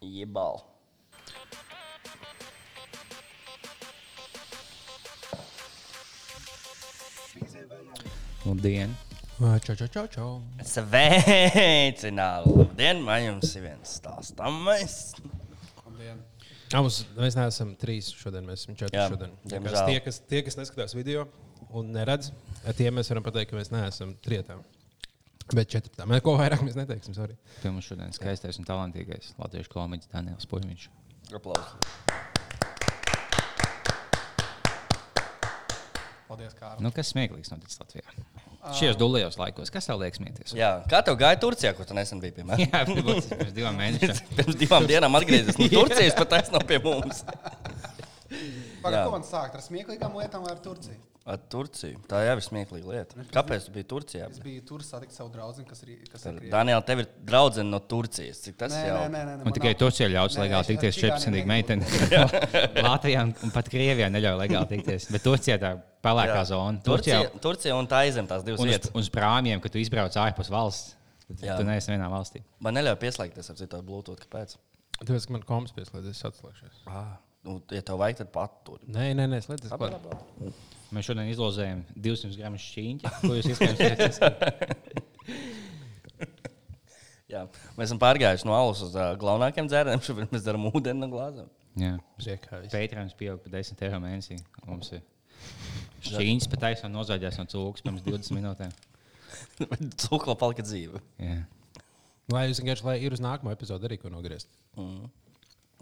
Gi ball. Labdien! Čau, čau, čau, čau. Sveicināti! Labdien! Vai jums ir viens stāstāmais? Abus, mēs neesam trīs šodien, mēs esam četri Jā, šodien. diemžēl. Tāpēc Tie kas, tie, kas neskatās video un neredz, tiem mēs varam pateikt, ka mēs neesam trietā. Bet četrtā. Mēs ko vairāk mēs neteiksim. Sorry. Pie mums šodien skaistais un talantīgais latviešu komiķis Daniels Puļņš. Aplaus! Paldies, kā Nu, kas smieklīgs noticis Latvijā? Šajos dulējos laikos, kas tev liekas smieties? Jā, kā tev gāja Turcijā, kur tu nesen biji pie manis? Jā, pirms pirms diviem mēnešiem. Pirms divām dienām atgriezies. Nu, Turcijas pat taisno pie mums. Jā. Pagaidām, ko man sākt ar smieklīgām lietām vai ar Turciju? Ar Turciju. Tā jau ir smieklīga lieta. Kāpēc tu biji Turcijā? Es biju tur satikt savu draugu, kas ir kas ir Krievijā. Daniela, tev ir draudzene no Turcijas. Cik tas Nē, jau nē, nē, nē, Un man tikai nav- tos ir ļauts Nē, legāli es ar tikties čigāniem 14 negribu. meiteni. Latvijā un- un pat Krievijā neļauj legāli tikties. Bet Turcijā tā pelēkā Jā. zona. Turcijā Turcija, Turcija un tā aizem tās divas un uz, vietas. uz prāmjiem, kad tu izbrauc ārpus valsts, tad Jā. tu neesi vienā valstī. Man neļauj pieslēgties ar citu blūzi, kāpēc. Tāpēc, ka man koms pieslēdzas, es atslēgšos. Ah. Nu, ja tev vajag, tad pat tur. Nē, nē, nē, slēdzies. klāt. Mēs šodien izlozējam 200 gramus šķīņķa, ko jūs izskatījāt. Jā. Mēs esam pārgājuši no alus uz uh, galvenākiem dzērieniem. Šobrīd mēs darām ūdeni no glāzēm. Jā, Priekāvis. Patreons pieaug par 10 eiro mēnesī. Mums ir šķīņas pat taisnām nozaļās no cūkas pirms 20 minūtēm. Cukla palika dzīve. Jā. Lai jūs vienkārši, lai ir uz nākamo epizodu arī ko nogriezt.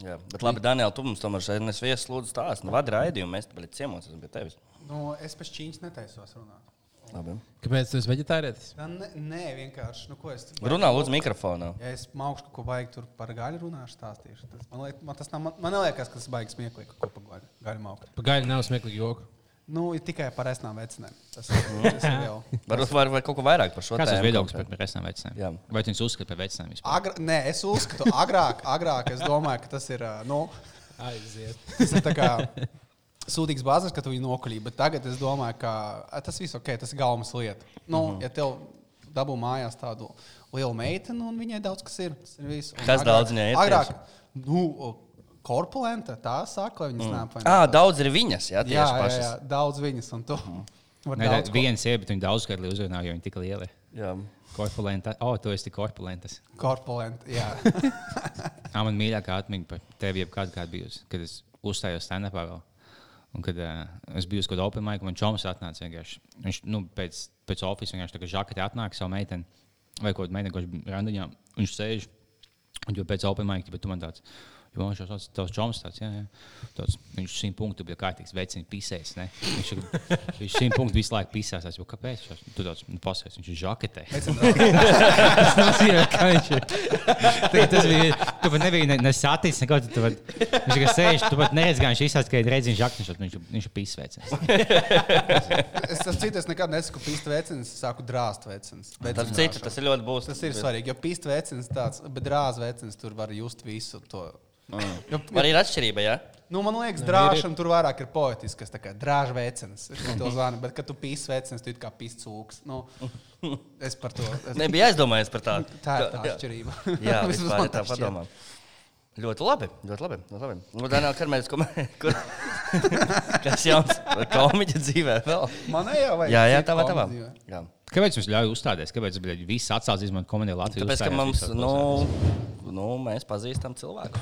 Jā. Bet labi, Daniela, tu mums tomēr šeit nes viesis lūdzu stāst. Nu, vada raidījumu, mēs tev ciemos esam pie tevis. Nu, es pēc ķīņas netaisos runāt. Labi. Kāpēc tu esi vegetārietis? Nē, Nē, nē, vienkārši. Nu, ko es, Runā lūdzu mikrofonā. ja es maukšu, ko vajag tur par gaļu runāšu, stāstīšu. Tas, man, liek, man, tas nav, man, man liekas, ka tas baigs smieklīgi, ko par gaļu, gaļu maukt. Pagaidām nav smieklīgi joki. Nu, ir tikai par esnām vecinēm. Tas, tas ir jau. Varbūt var, var kaut ko vairāk par šo Kāds ir tēmu viedoklis konkrēti? par presnām vecām? Jā. Vai viņš uzskata par vecām vispār? Agra, nē, es uzskatu, agrāk, agrāk es domāju, ka tas ir. ā, Nu, Aiziet. Tas ir tā kā sūdīgs bāzes, ka tu viņu nokulīji, bet tagad es domāju, ka ā, tas viss ok, tas ir galvas lieta. Nu, Mhm. mm -hmm. Ja tev dabū mājās tādu lielu meiteni, nu, un viņai daudz kas ir, tas ir viss. Un Kas agrāk- daudz viņai ir Agrāk, tieši? nu, o, korpulenta, tā saka, lai viņas mm. neapvainojas. Ā, Ah, daudz ir viņas, jā, tieši jā, jā, pašas. Mhm. jā, daudz viņas, un tu mm. vari Nē, tā daudz ko- viena sieviete, bet viņa daudzkārtīgi uzrunāja, jo viņa tik liela. ir. Jā. Korpulenta. O, oh, tu esi tik korpulentas. korpulenta. Jā, Tā man mīļākā atmiņa par tevi jebkad kāda bijusi, kad es uzstājos stand-upā vēl. Un kad uh, es biju uz kāda open mic, un man čoms atnāca vienkārši. Viņš nu, pēc, pēc oficiāla vienkārši tā kā žaketē atnāk savu meiteni vai kaut kādu meiteni, kurš bija randiņā. un Viņš sēž, un jau pēc open mic, bet tu man tāds. Jo viņš jau tāds - tāds čoms, tāds, jā, jā. Tāds, viņš simt punktu bija kārtīgs, vecins, pisējis. ne? Viņš ir- viņš simt punktu visu laiku pisās. Es jau kāpēc? Tur tāds nu, pasēs, viņš ir žaketē. Tas nozīmē, ka viņš ir. Tā, tas bija. Tu pat nebija ne, ne saticis, neko. Tu, tu pat, viņš tikai sēž, tu pat neredz, kā viņš izsaka, ka ir redzējis žaktiņš, viņš, viņš ir pisveicis. es tam citu es nekad nesaku, pīst vecins, es saku drāzt vecins. Tas, citu, tas ir ļoti būs. Tas ir svarīgi, jo pīst vecins tāds, bet drāzt vecins tur var just visu to. Jo, jo Arī Mm. ir atšķirība, jā. Nu, man liekas, drāšana tur vairāk ir poetiska. tā kā Drāža veicins, kā to zvana. Bet, kad tu pīsi veicins, tu it kā pīsi cūks. Nu, es par to. Es, Nebija aizdomājies par tādu. tā ir tā Jā. atšķirība. Jā, Vismaz vispār man ir tā šķiet. padomā. Ļoti labi. Ļoti labi. Ļoti labi. Nu, Daniel, kad mēs skatāmies, kas jauns par komiķa dzīvē vēl? Man jau vajag. Jā, jā, citu tavā, tavā. komandu, jo- Jā. Kāpēc mums ļauj uzstāties? Kāpēc bļaļ, viss atsācis izmantot komandai Latvijas? Tāpēc, ka mums, nu, nu, mēs pazīstam cilvēku.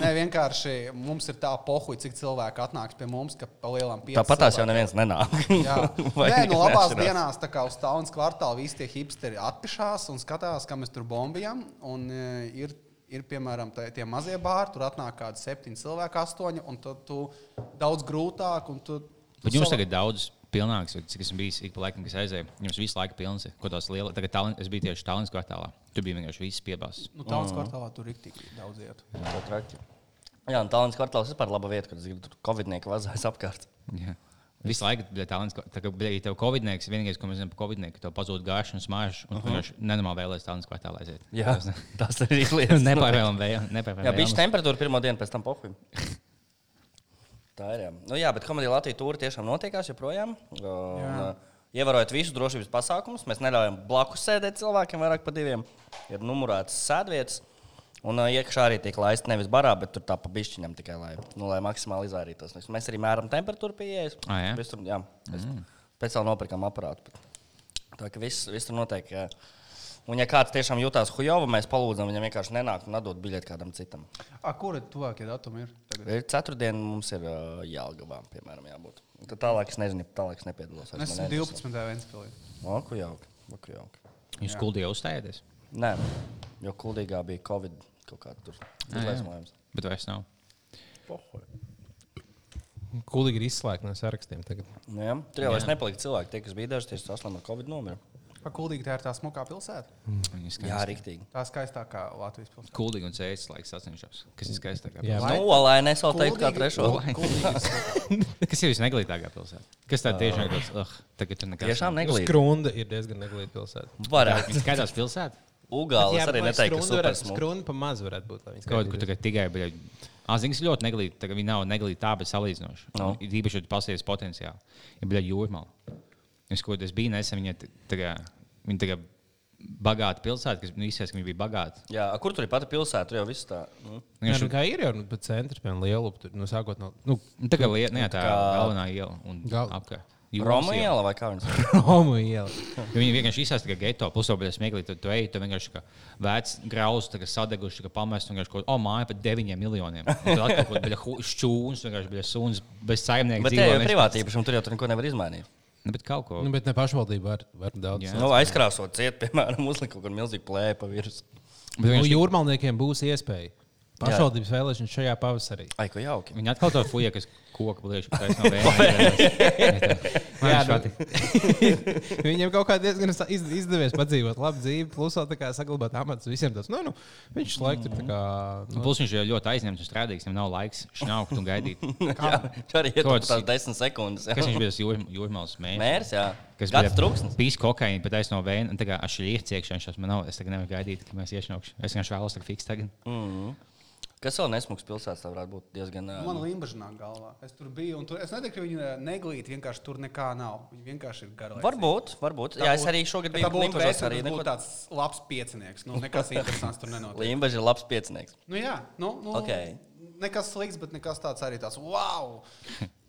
Nē, vienkārši mums ir tā pohuļa, cik cilvēki atnāks pie mums, ka pa lielām piecām. Tāpatās jau neviens nenāk. Jā, Vai Nē, nekas nu, labās neatšķirās. dienās, tā kā uz Taunas kvartāla visi tie hipsteri atpišās un skatās, kā mēs tur bombijam. Un, e, ir, ir, piemēram, tā, tie mazie bāri, tur atnāk kaut kādi septiņi cilvēki, astoņi, un tad tu daudz grūtāk. un Tu, tu Bet jums savā- tagad daudz pilnāks, vai cik esmu bijis ik pa laikam, kas aizēja. Jums visu laiku pilns ir. Ko tās liela, tagad talent, es biju tieši Tallinas kvartālā. Tur bija vienkārši viss piebāzis. Nu, Taunas kvartālā tur ir tik daudz iet. Ļoti traki. Jā, un Tallinas kvartāls ir par labu vietu, kur es gribu tur Covid-nieki vazājas apkārt. Jā. Visu laiku bija tā līnija, ka, ja tev ir covid-nieks, vienīgais, ko mēs zinām par covid-nieku, tev pazūd gārš un smāžs, un tu vienkārši nenormāli vēlēsies tālāk kvartālā aiziet. Jā, tas arī ir lietas. Nepārvēlam vēl, Jā, bija šī nepārvēlam. temperatūra pirmā diena pēc tam pohuļiem. Tā ir. Jā, nu, jā bet komēdija Latvijas tūri tiešām notiekās joprojām. Un, uh, Ievērojot visus drošības pasākumus, mēs neļaujam blakus sēdēt cilvēkiem vairāk par diviem. Ir numurētas sēdvietas. Un uh, iekšā arī tiek laista nevis barā, bet tur tā pa bišķiņam tikai, lai, nu, lai maksimāli izvairītos. Nu, Mēs arī mēram temperatūru pieejas. Ā, jā? Viss Tur, jā, mēs mm. speciāli nopirkām aparātu. Bet. Tā kā viss, viss tur notiek. jā. Un, ja kāds tiešām jutās hujova, mēs palūdzam viņam vienkārši nenākt un atdot biļeti kādam citam. A, kura tuvākie datumi ir? Tagad? Ir Ceturtdien mums ir uh, jālgabā, piemēram, jābūt. Un Tad tālāk es nezinu, tālāk es nepiedalos. vairs, Mēs man esam neinteresē. 12. Vēnspilī. Vaku jauki, vaku jauki. Jūs skuldījā uzstājāties, Nē, jo kuldīgā bija Covid kaut kāda tur izlaismojums. bet vairs nav. Kulīgi ir izslēgts no sarakstiem. Tagad. Nu, jā, tur jau vairs nepalika cilvēki. Tie, kas bija daži, tie saslimuši ar Covid nomira. Kā kuldīgi tā ir tā smukā pilsēta? Jā, rīktīgi. Tā skaistākā Latvijas pilsēta. Kuldīgi un cēlis laiks atcenšos. Kas ir skaistākā? Jā. pilsēta? Nu, lai nesauktētu kā Kuldīgi- trešo. Kas ir visneglītākā pilsēta? Kas tā tiešām ir? Uh, tagad tur nekas. Tiešām Nu, neglīti. Skrunda ir diezgan neglīta pilsēta. Varētu. Viņi skatās pilsētu. Ugālis Bet, arī vai neteica, ka Skrunda super varētu- smūgi. Skrunda pa maz varētu būt. lai viņi Kaut kur skatītos. tagad tikai bija. Azings ļoti neglīti. Tagad viņi nav neglīti tā, bet salīdzinoši. Nu. No. Ir īpaši, ja tu pasies potenciāli. Ir bija jūrmāla. Es, ko, es biju nesen, viņa tagad, viņa tagad bagāta pilsēta, kas nu, izskatās, ka viņa bija bagāta. Jā, a, kur tur ir pati pilsēta? Tur jau viss tā. Nu. Nē, Viņa nu, šo, kā ir jau nu, pa centru, piemēram, lielu tur nu, sākot no nu, nu, tagad liet, ne, tā kā galvenā iela un Gal- apkārt. Romu iela vai kā viņas? Romu ielas. Jo Viņi vienkārši izsaka, ka geto pusaubiņā smieklīgi tur tu ej, tur vienkārši kā vērts grauzs, tā kā sadeguši, ka pamest un vienkārši kaut ko, oh, māja par deviņiem miljoniem. Un Tur atkal kaut kāda šķūns, vienkārši bija suns, bez saimnieka. Bet tie jau ir privāti īpašumi, tur jau tur neko nevar izmainīt. Nu, bet kaut ko. Nu, bet ne pašvaldība var, var daudz. Jā. Nu, aizkrāsot ciet, piemēram, uzlikt kaut kur milzīgu plēpu pa virsmu. Bet Nu, vienkārši- jūrmalniekiem būs iespēja. Pašvaldības vēlēšanas šajā pavasarī. Ai, ko jauki. Viņa atkal to fuja, kas koku bliež pēc no vēja. Jā, Jā, tā ir. Viņam kaut kā diezgan sa- iz- izdevies padzīvot labu dzīvi, plus vēl tā kā saglabāt amatus visiem. Tas, nu, nu, viņš laikam tur tā kā. Nu, Plus viņš jau ļoti aizņemts un strādīgs, viņam nav laiks šnaukt un gaidīt. Jā, tur arī ir Kāds- tās desmit sekundes. jā. Kas viņš bija tas jūr- jūrmālas mēnesis? Mērs, jā. Kas Kas Gads trūksnis. Pīs kokaīna, bet aizno vēja, un tagad aš ir iekšā, viņš man nav, es tagad nevaru gaidīt, ka mēs iešnaukšu. Es vienkārši vēlos tagad fiks tagad. Kas vēl nesmugs pilsētā varētu būt diezgan. ā, nu, Man limbaža nāk galvā. Es tur biju, un tur, es nedomāju, ka viņi eh, neglīti. Vienkārši tur nekā nav. Viņi vienkārši ir garlaicīgi. Varbūt, varbūt. Jā, es arī šogad biju Limbažā. Limbažos. Tas arī nu, būtu neko- neko... tāds labs piecinieks. Nu, nekas interesants tur nenotiek. Limbaži ir labs piecinieks. Nu, jā, nu, nu, Ok. Nekas slikts, bet nekas tāds arī tāds - wow!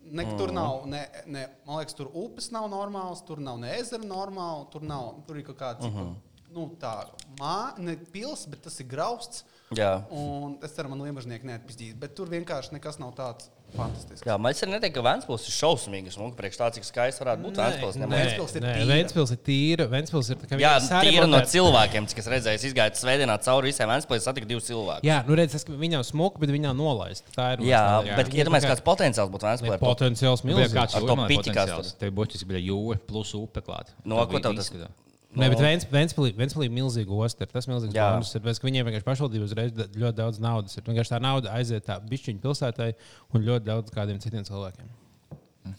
Ne, tur Mm. nav, ne, ne, man liekas, tur upes nav normāls, tur nav ne ezera normāla, tur nav, tur ir kaut kāda uh Mhm. -huh. nu, tā mā, ne pils, bet tas ir grausts. Jā. Un es ceru, man liemežnieki neatpistīs, bet tur vienkārši nekas nav tāds fantastisks. Jā, man es arī neteiktu, ka Vēnspils ir šausmīgs. Nu, priekš tā, cik skaists varētu būt Vēnspils. nē, nemaz. Ventspils ir nē, tīra. Ventspils ir tīra. Ventspils ir tā kā Jā, viņam tīri no saremontēt- cilvēkiem, cik es redzēju, es izgāju svētdienā cauri visiem Vēnspils, satiku divus cilvēkus. Jā, nu redz, es, ka viņa nav smuka, bet viņa nav nolaista. Tā ir. Jā, viens no lietām. bet Viņa tā iedomājieties, kā- kāds potenciāls būtu Ne, Vēnspils. Potenciāls Bija milzīgs. kāds Ar to jūrmālas piti potenciāls. kastot. Tev būtiski bija jūra plus upe klāt. No, Tev ko bija tev tas- izskatā. Nē, bet Vents- Ventspilī Ventspilī ir milzīga ostra. ir Tas milzīgs Jā. bonus ir milzīgs. Viņiem vienkārši pašvaldība uzreiz da- ļoti daudz naudas. Ir vienkārši tā nauda aiziet tā bišķiņu pilsētai un ļoti daudz kādiem citiem cilvēkiem.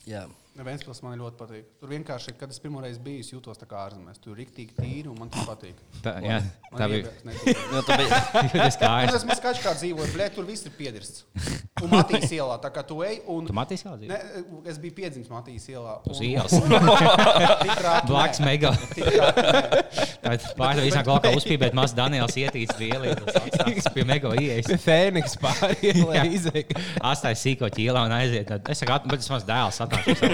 Jā. Vēstpils man ļoti patīk. Tur vienkārši, kad es pirmo reizi biju, es jutos tā kā ārzemēs. Tur ir rīktīgi tīri un man tas patīk. Tā, jā, Man tā bija. iebrauc nekur. Nu, tu biji- Tas kā Es es. esmu skaļš, kā dzīvoju, blē, tur viss ir piedrists. Un Matīs ielā, tā kā tu ej, un Tu matīs jādzīvo? ne, es biju piedzimis Matīs ielā. Uz un- ielas. Tik traki, Blakus nē. mega. Tik traki, nē. Tā ir pārāk visā glābā uzspīdēt maz Daniels ietīts vielī. Tas atstāts pie mega ieejas. Fēniks pārējai izdeja. Atstāja sīko ķīlā un aiziet. Tad Es saku, at- bet tas mans dēls atnāks.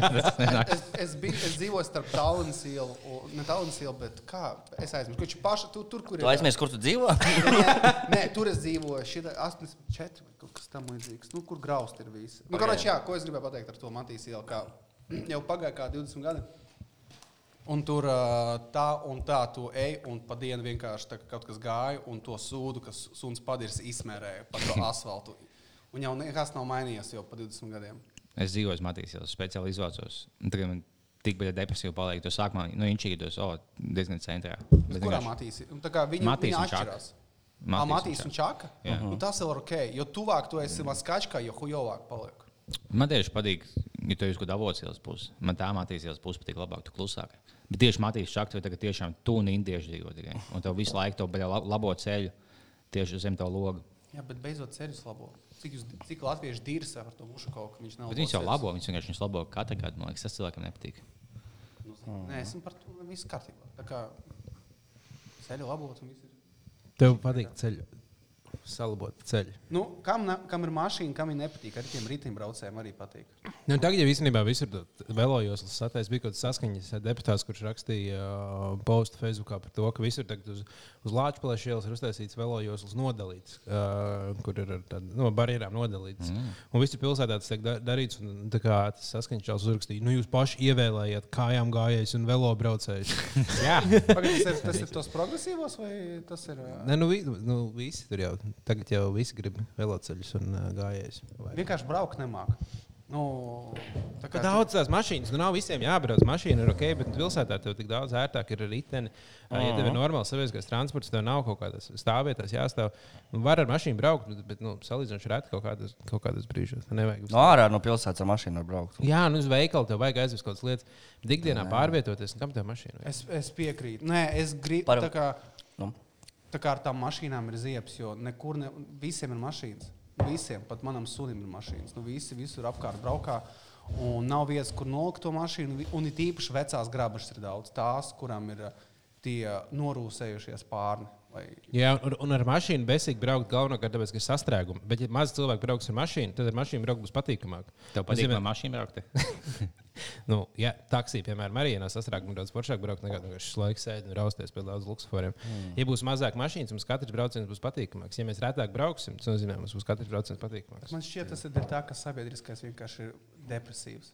Tas nenāk. Es, es, biju, es dzīvoju starp Taunas ielu, un- ne Taunas ielu, bet kā es aizmirsu, kurš ir paša, tu, tur, kur Tu ir. aizmirsti, kur tu dzīvo? Nē, nē, tur es dzīvoju, šī 84 vai kaut kas tam līdzīgs, nu, kur graust ir visi. Nu, Kāpēc, jā, ko es gribēju pateikt ar to Matīs ielu, kā jau pagāja kā 20 gadi. Un tur ā, tā un tā, tu ej, un pa dienu vienkārši tā, kā kaut kas gāja, un to sūdu, kas suns padirs, izsmērēja pa to asfaltu. Un jau nekas nav mainījies jau pa 20 gadiem. Es dzīvoju uz Matīs, jau speciāli izvācos. Un Tagad man tik bija depresija, palika. To sākumā nu, viņš īdos, o, diezgan centrā. Bet Bet Kurā vienkārši- Matīs? Un tā kā viņi, Matīs viņi un Čaka. atšķirās. Matīs, Matīs un Čaka? Jā. Un tas ir ok, jo tuvāk tu esi maskačkā, jo hujovāk paliek. Man tieši patīk, ja tu esi kaut kādā avotcēlas pusē. Man tā matīsies, puses patīk labāk, tu klusāk. Bet tieši matīs šādi, tev tagad tiešām tu un indieši dzīvo tikai. Un tev visu laiku to labo ceļu tieši zem tā loga. Jā, bet beidzot ceļus labo. Cik, jūs, cik latvieši dirs ar to mušu kaut kā, viņš nav. Bet viņš jau labs labo, viņš vienkārši viņus labo katru gadu. Man liekas, tas cilvēkam nepatīk. ceļus. Nu, zini, Nē, esmu par to visu kārtībā. Tā kā ceļu labot un viss ir. Tev patīk ceļu. salabot ceļu. Nu, kam, ne, kam ir mašīna, kam viņa nepatīk? Ar tiem riteņbraucējiem arī patīk. Nu, tagad jau īstenībā visur vēlojos, lai satais bija kaut kāds saskaņas deputāts, kurš rakstīja uh, postu Facebookā par to, ka visur tagad uz, uz Latvijas ielas ir uztaisīts vēlojos nodalīts, uh, kur ir ar tād, no barjerām nodalīts. Mm. Un viss pilsētā tas tiek da- darīts, un tā kā tas saskaņas čels uzrakstīja, nu jūs paši ievēlējiet kājām gājējus un velobraucējus. Jā, Pagad, tas, ir, tas ir tos progresīvos vai tas ir ā, Nē, nu, vi, nu visi tur jau, tagad jau visi grib veloceļus un uh, gājējus. Vai- vienkārši braukt nemāk? Nu, tā Kā kā daudz. daudz tās mašīnas, nu nav visiem jābrauc. Mašīna ir ok, bet pilsētā tev tik daudz ērtāk ir riteni. Uh -huh. Ja tev ir normāls sabiedriskais transports, tev nav kaut kādas stāvvietas jāstāv. Nu, Var ar mašīnu braukt, nu, bet nu, salīdzinoši reti kaut kādas, kaut kādas brīžos. nu, Nevajag. No Nu, ārā no pilsētas ar mašīnu var braukt. Jā, nu uz veikalu tev vajag aizvest kaut kādas lietas. Bet Ikdienā pārvietoties, nu, kam tev mašīna? vajag? Es, es piekrītu. Nē, es gribu. Par- Tā kā, Nu. tā kā ar tām mašīnām ir ziepes, jo nekur ne, visiem ir mašīnas. Visiem, pat manam sunim, ir mašīnas. Nu, visi visur apkārt braukā. Un nav vietas, kur nolikt to mašīnu. Vi- Un ir īpaši vecās grabašas ir daudz. Tās, kurām ir ā, tie norūsējušies pārni. Vai Jā, un, un ar mašīnu besīgi braukt galvenokārt, tāpēc, ka ir sastrēgumi. Bet, ja maz cilvēku brauks ar mašīnu, tad ar mašīnu braukt būs patīkamāk. tev Tas patīk nozīmē- ar mašīnu braukt. Nu, ja taksija, piemēram, arī ir sastrēguma daudz foršāk braukt, nekā šis laiks sēdi un rausties pie daudz luksusforiem. Mm. Ja būs mazāk mašīnas, mums katrs brauciens būs patīkamāks. Ja mēs retāk brauksim, tas nozīmē, mums būs katrs brauciens patīkamāks. Man šķiet, tas ir dēļ tā, ka sabiedriskais vienkārši ir depresīvs.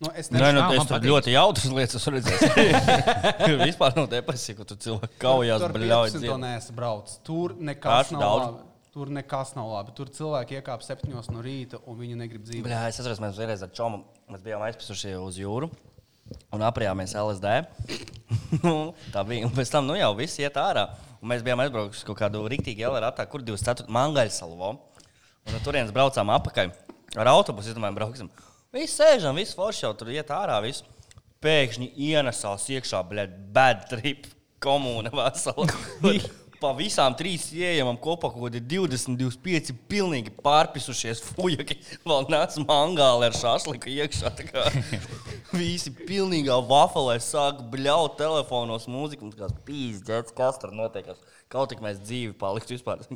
Nu, es Nē, nezinu, nu, nav, es man tur patīk. ļoti jautru lietu redzēju. Vispār nav depresija, kur tu cilvēku kaujās, tur bļauj. tu dzird. neesi braucis. Tur nekas Kāds nav daudz? labi. Tur nekas nav labi. Tur cilvēki iekāpa septiņos no rīta un viņi negrib dzīvot. Bļā, es atceros, mēs vienreiz ar Čomu mēs bijām aizpasuši uz jūru un aprījāmies LSD. Nu, tā bija. Un pēc tam nu, jau viss iet ārā. Un mēs bijām aizbraukuši uz kaut kādu rīktīgu LRT, kur 24. mangaļu salvo. Un no turienes braucām apakaļ. Ar autobusu izdomājām, brauksim. Visi sēžam, visi forši jau tur iet ārā. Visu. Pēkšņi ienesās iekšā, blēd, bad trip komūna vesela. Pa visām trim ienākām kopā kaut kādi 20, 25 pilnīgi pārpisušies fujaki. Vēl nāca mangāli ar šāšliku iekšā. tā kā Visi pilnīgā vafelē sāk bļaut telefonos mūziku. un Tas pīzdēts, kas tur notiek. Kaut tik mēs dzīvi paliktu vispār.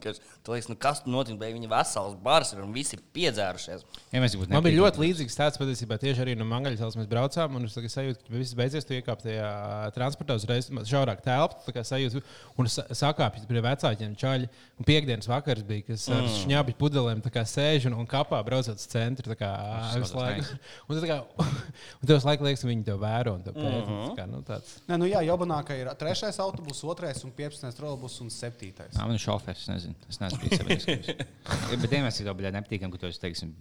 Tu liekas, nu kas tur notiek, bet viņi vesels bars ir un visi piedzērušies. Ja mēs būtu Man bija ļoti līdzīgs tāds patiesībā tieši arī no Mangaļas. Mēs braucām, un es tagad sajūtu, ka viss beidzies. Tu iekāp tajā transportā, uzreiz šaurāk telpā, tā kā sajūta, un sa- sakāpjas pie vecākiem čaļi. Un piekdienas vakars bija, kas ar mm. šņābi pudelēm tā kā sēž un, un kapā braucot uz centru. tā Kā, visu tas laiku. Un, tu tā kā, un tev laikam liekas, ka viņi to vēro un to pēta. Mm -hmm. nu, tāds. Nē, nu jā, Jobanākā ir trešais autobus, otrais un 15. trolebus un septītais. Jā, man ir šofērs, es nezinu. Es neesmu bijis sabiedriskais. Ja, Bet vienmēr ir tā, ka nepatīkami, ka tu esi, teiksim,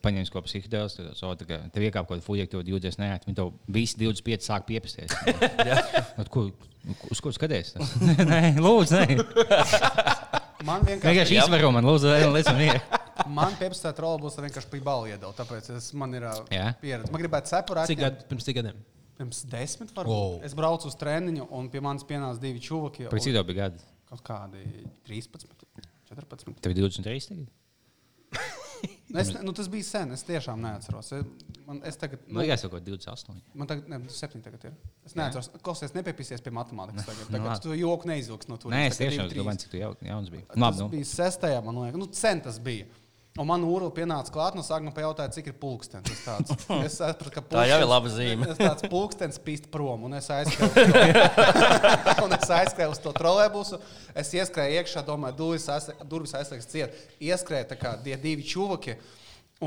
paņēmis kaut ko psihidēlis, tad so, tev iekāp kaut kāda fuja, tu jūties neērti. Viņi tev visi 25 sāk piepasties. Nu, ko- Uz ko skaties? nē, lūdzu, nē. Man vienkārši, Vienkārši izvaro man, lūdzu, nē, lūdzu, nē. man 15. trolebus vienkārši bija balva iedod, tāpēc es, man ir ā, Jā. pieredze. Man gribētu separēt. Cik gadi pirms cik gadiem? Pirms desmit, varbūt. Wow. Es braucu uz treniņu un pie manis pienāca divi čūvaki. Pēc un cik tev bija gadi? Kaut kādi 13, 14. Tev ir 23 tagad? Nu, Es, ne- nu, tas bija sen, es tiešām neatceros. Es, man, es tagad, nu, Man liekas, kaut ko 28. man tagad, ne, septiņi tagad ir. Es neatceros, klausies, nepiepiesies pie matemātikas. Tagad, Nu, tagad labi. tu joku neizvilks no Nē, turienes. es Tagad tiešām divi, domāju, trīs. cik tu jau, jauns biji. Tas Labi, nu. nu. bija sestajā, man liekas, nu, cen tas bija. Un man ūrā pienāca klāt, no sākuma pajautāja, cik ir pulkstenis. Es, tāds, es sapratu, ka Tā jau ir pulkstenis- laba zīme. Es tāds pulkstenis pīst prom, un es aizskrēju. un es aizskrēju uz to trolēbusu. Es ieskrēju iekšā, domāju, durvis aizseg- durvis aizslēgts ciet. Ieskrēju tā kā tie divi čūvaki.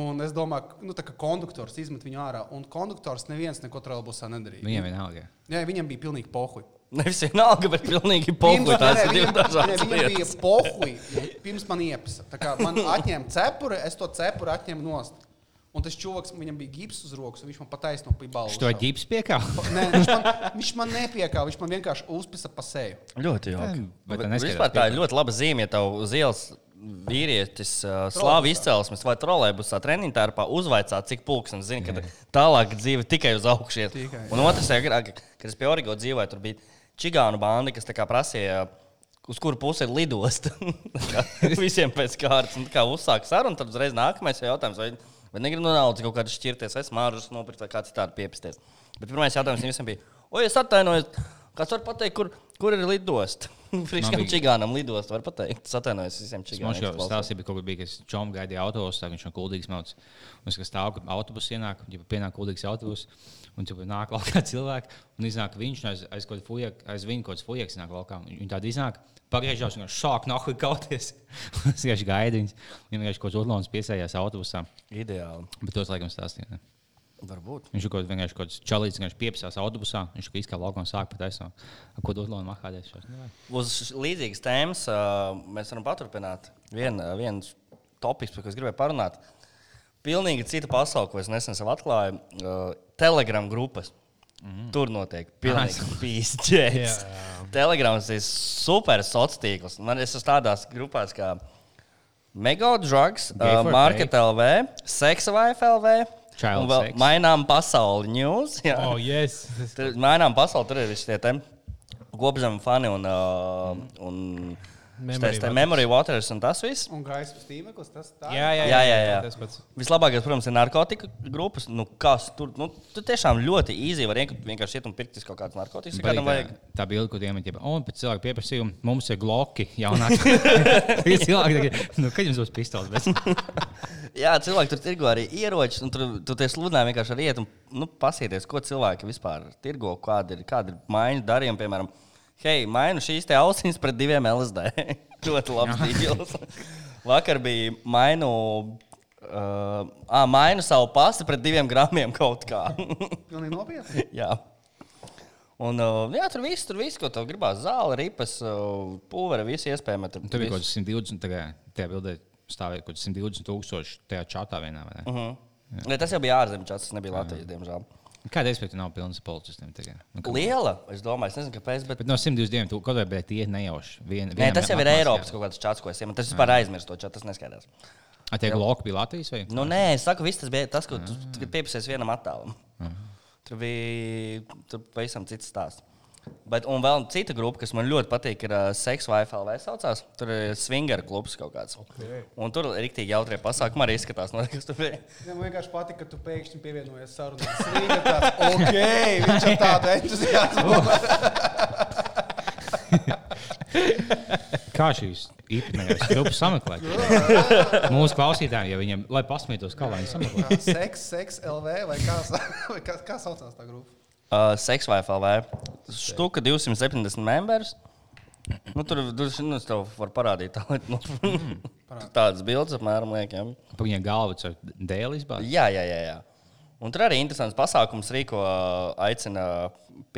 Un es domāju, ka nu, tā kā konduktors izmet viņu ārā. Un konduktors neviens neko trolēbusā nedarīja. Viņam nu, vienalga. Jā, viņam bija pilnīgi pohuļi. Nevis vienalga, bet pilnīgi pohuļi. Pirms- Tās nē, ir viņam- divas dažādas nē, Viņam bija lietas. pohuļi. Pirms man iepasa. Tā kā Man atņēma cepuri, es to cepuri atņēmu nost. Un tas čūlis, viņam bija gips uz rokas, un viņš man pataisno pibaldu. Šo ģips piekāp? Nē, viņš man, viņš man nepiekāva, viņš man vienkārši uzpisa pa seju. Ļoti jauki. Tā, bet Bet tā neskaidrs Vispār tā ir ļoti laba zīme, ja tev uz ielas vīrietis, uh, slāva izcelsmes vai trolēļbusā, treniņā tērpā uzvaicā, cik pulkstenis zina, ka tālāk dzīve tikai uz augšu iet. Tikai, Un otrs, ja agrāk, kad es pie Origo dzīvoju, tur bija čigānu bandi, kas tā kā prasīja. Uz kuru pusi ir lidosta? Tā kā Visiem pēc kārtas. Un tā Kā uzsāk sarunu, tad uzreiz nākamais jautājums. Vai, vai negribu no naudas kaut kādas šķirties, vai smaržas nopirkt, vai kā citādi piepisties. Bet pirmais jautājums viņiem visiem bija, oi, es atvainojos, kas var pateikt, kur, kur ir lidosta? Friškam bija- čigānam lidost, var pateikt. Es atvainojos visiem Viņš jau čigāniem. kas klausās. stāstīja, ka bija tas čoms, gaidīja autobusu, tā viņš no kuldīgas mācās. Un es kā stāvu, kad autobuss ienāk, ja pienāk kuldīgas autobus, un tur nāk vēl kāds cilvēks, un iznāk viņš no aiz, aiz, kaut fujek, aiz viņa kaut kāds fujaks, nāk laukā. Viņi tādi iznāk, pagriežās un šāk nahu kauties. Un es vienkārši gaidu viņus, viņiem vienkārši kaut kāds urlons piesējās autobusā, Ideāli. bet tos laikam stāstīja. ne? Varbūt. Viņš ir kaut kāds vienkārši kaut kāds čalīts, kas piepsās autobusā, viņš kā izkāpa laukā un sāk pat aizsākt. Ko dod lona mahādēs? šos? Nu, vai. Uz š- līdzīgas tēmas ā, mēs varam paturpināt. Vien, ā, viens topoks, par ko es gribēju parunāt, pilnīgi cita pasaule, ko es nesen sev atklāju. ā, Telegram grupas. Mhm. Mm. Tur notiek pilnīgi pīsķēs. Telegrams ir super sociāls tīkls. Man ir tādās grupās kā Mega Drugs, Gay ā, for Market LV, Sex Life LV. Child un vēl sex. Mainām pasauli news. Jā. Oh, yes. Tas- Tur mainām pasauli, tur ir visi tie tēm. Gobzem fani un, uh, un Memory šitās te Waters. memory waters un tas viss. Un gaisa stīveklis, tas tā. Jā, jā, Jā, jā, jā. Tas pats. Vislabākais, protams, ir narkotika grupas. Nu, kas tur, nu, tur tiešām ļoti īsi var ienk- vienkārši iet un pirkt kaut kādas narkotikas. ja Kādam vajag. Baigi, Tā bija ilga, kur iemet, jau pēc cilvēka pieprasījuma mums ir gloki jaunāk. Visi cilvēki tagad, nu, kad jums būs pistols? Bet... Jā, cilvēki tur tirgo arī ieročus, un tur tu tie sludinājumi vienkārši arī iet un nu, pasieties, ko cilvēki vispār tirgo, kāda ir, kāda ir maiņa darījuma. Piemēram, hei, mainu šīs te ausis pret diviem LSD. ļoti labs dīvils. Vakar bija mainu. Uh, à, mainu savu pasi pret diviem gramiem kaut kā. Pilnīgi nopietni. jā. Un, uh, jā, tur viss, tur viss, ko tu gribās. Zāle, ripas, uh, pūvera, visi iespējami. Tur Tur bija kaut kas 120, tagad tajā bildē stāvēja kaut kas 120 tūkstoši tajā čatā vienā. vai ne? Mhm. Ne, Tas jau bija ārzemēs, tas nebija Latvijas, diemžēl. Kāda iespēja tur nav pilns policistiem tagad? Nu, kā- Liela, es domāju, es nezinu, kāpēc. Bet... Bet no 122 tūkstoši, kaut vai bet tie nejauši. Vien, Nē, vienam tas jau ir apmācījā. Eiropas kaut kāds čats, ko es iemetu. Tas vispār aizmirst to čatu, tas neskaidrs. A, Tie gloki bija Latvijas vai? Nu, nē, es saku, viss tas bija tas, ko tu tu piepsies vienam attēlam. Mhm. Tur bija tur pavisam cits stāsts. Bet, un vēl cita grupa, kas man ļoti patīk, ir uh, Sex Wi-Fi vai saucās. Tur ir swinger klubs kaut kāds. Okay. Un tur ir rīktīgi jautrie pasākumi arī izskatās. No, kas tur bija? Man vienkārši patika, ka tu pēkšņi pievienojies sarunai. Rīga tāds, Ok, viņš ar tādu entuziasmu. Kā šīs īpatnējās grupas sameklēt? Mūsu klausītājiem, ja viņiem, lai pasmietos, kā lai viņi sameklē. Kā Seks, seks, LV vai kā, vai kā, kā saucās tā grupa? Uh, Seks Wi-Fi vai štuka 270 members. Nu, tur tur nu, es tev varu parādīt tā, lai, nu, tādas bildes apmēram liekam. Pa viņiem galvas ar dēli izbāzt. Jā, jā, jā. jā. Un tur arī interesants pasākums rīko, ā, aicina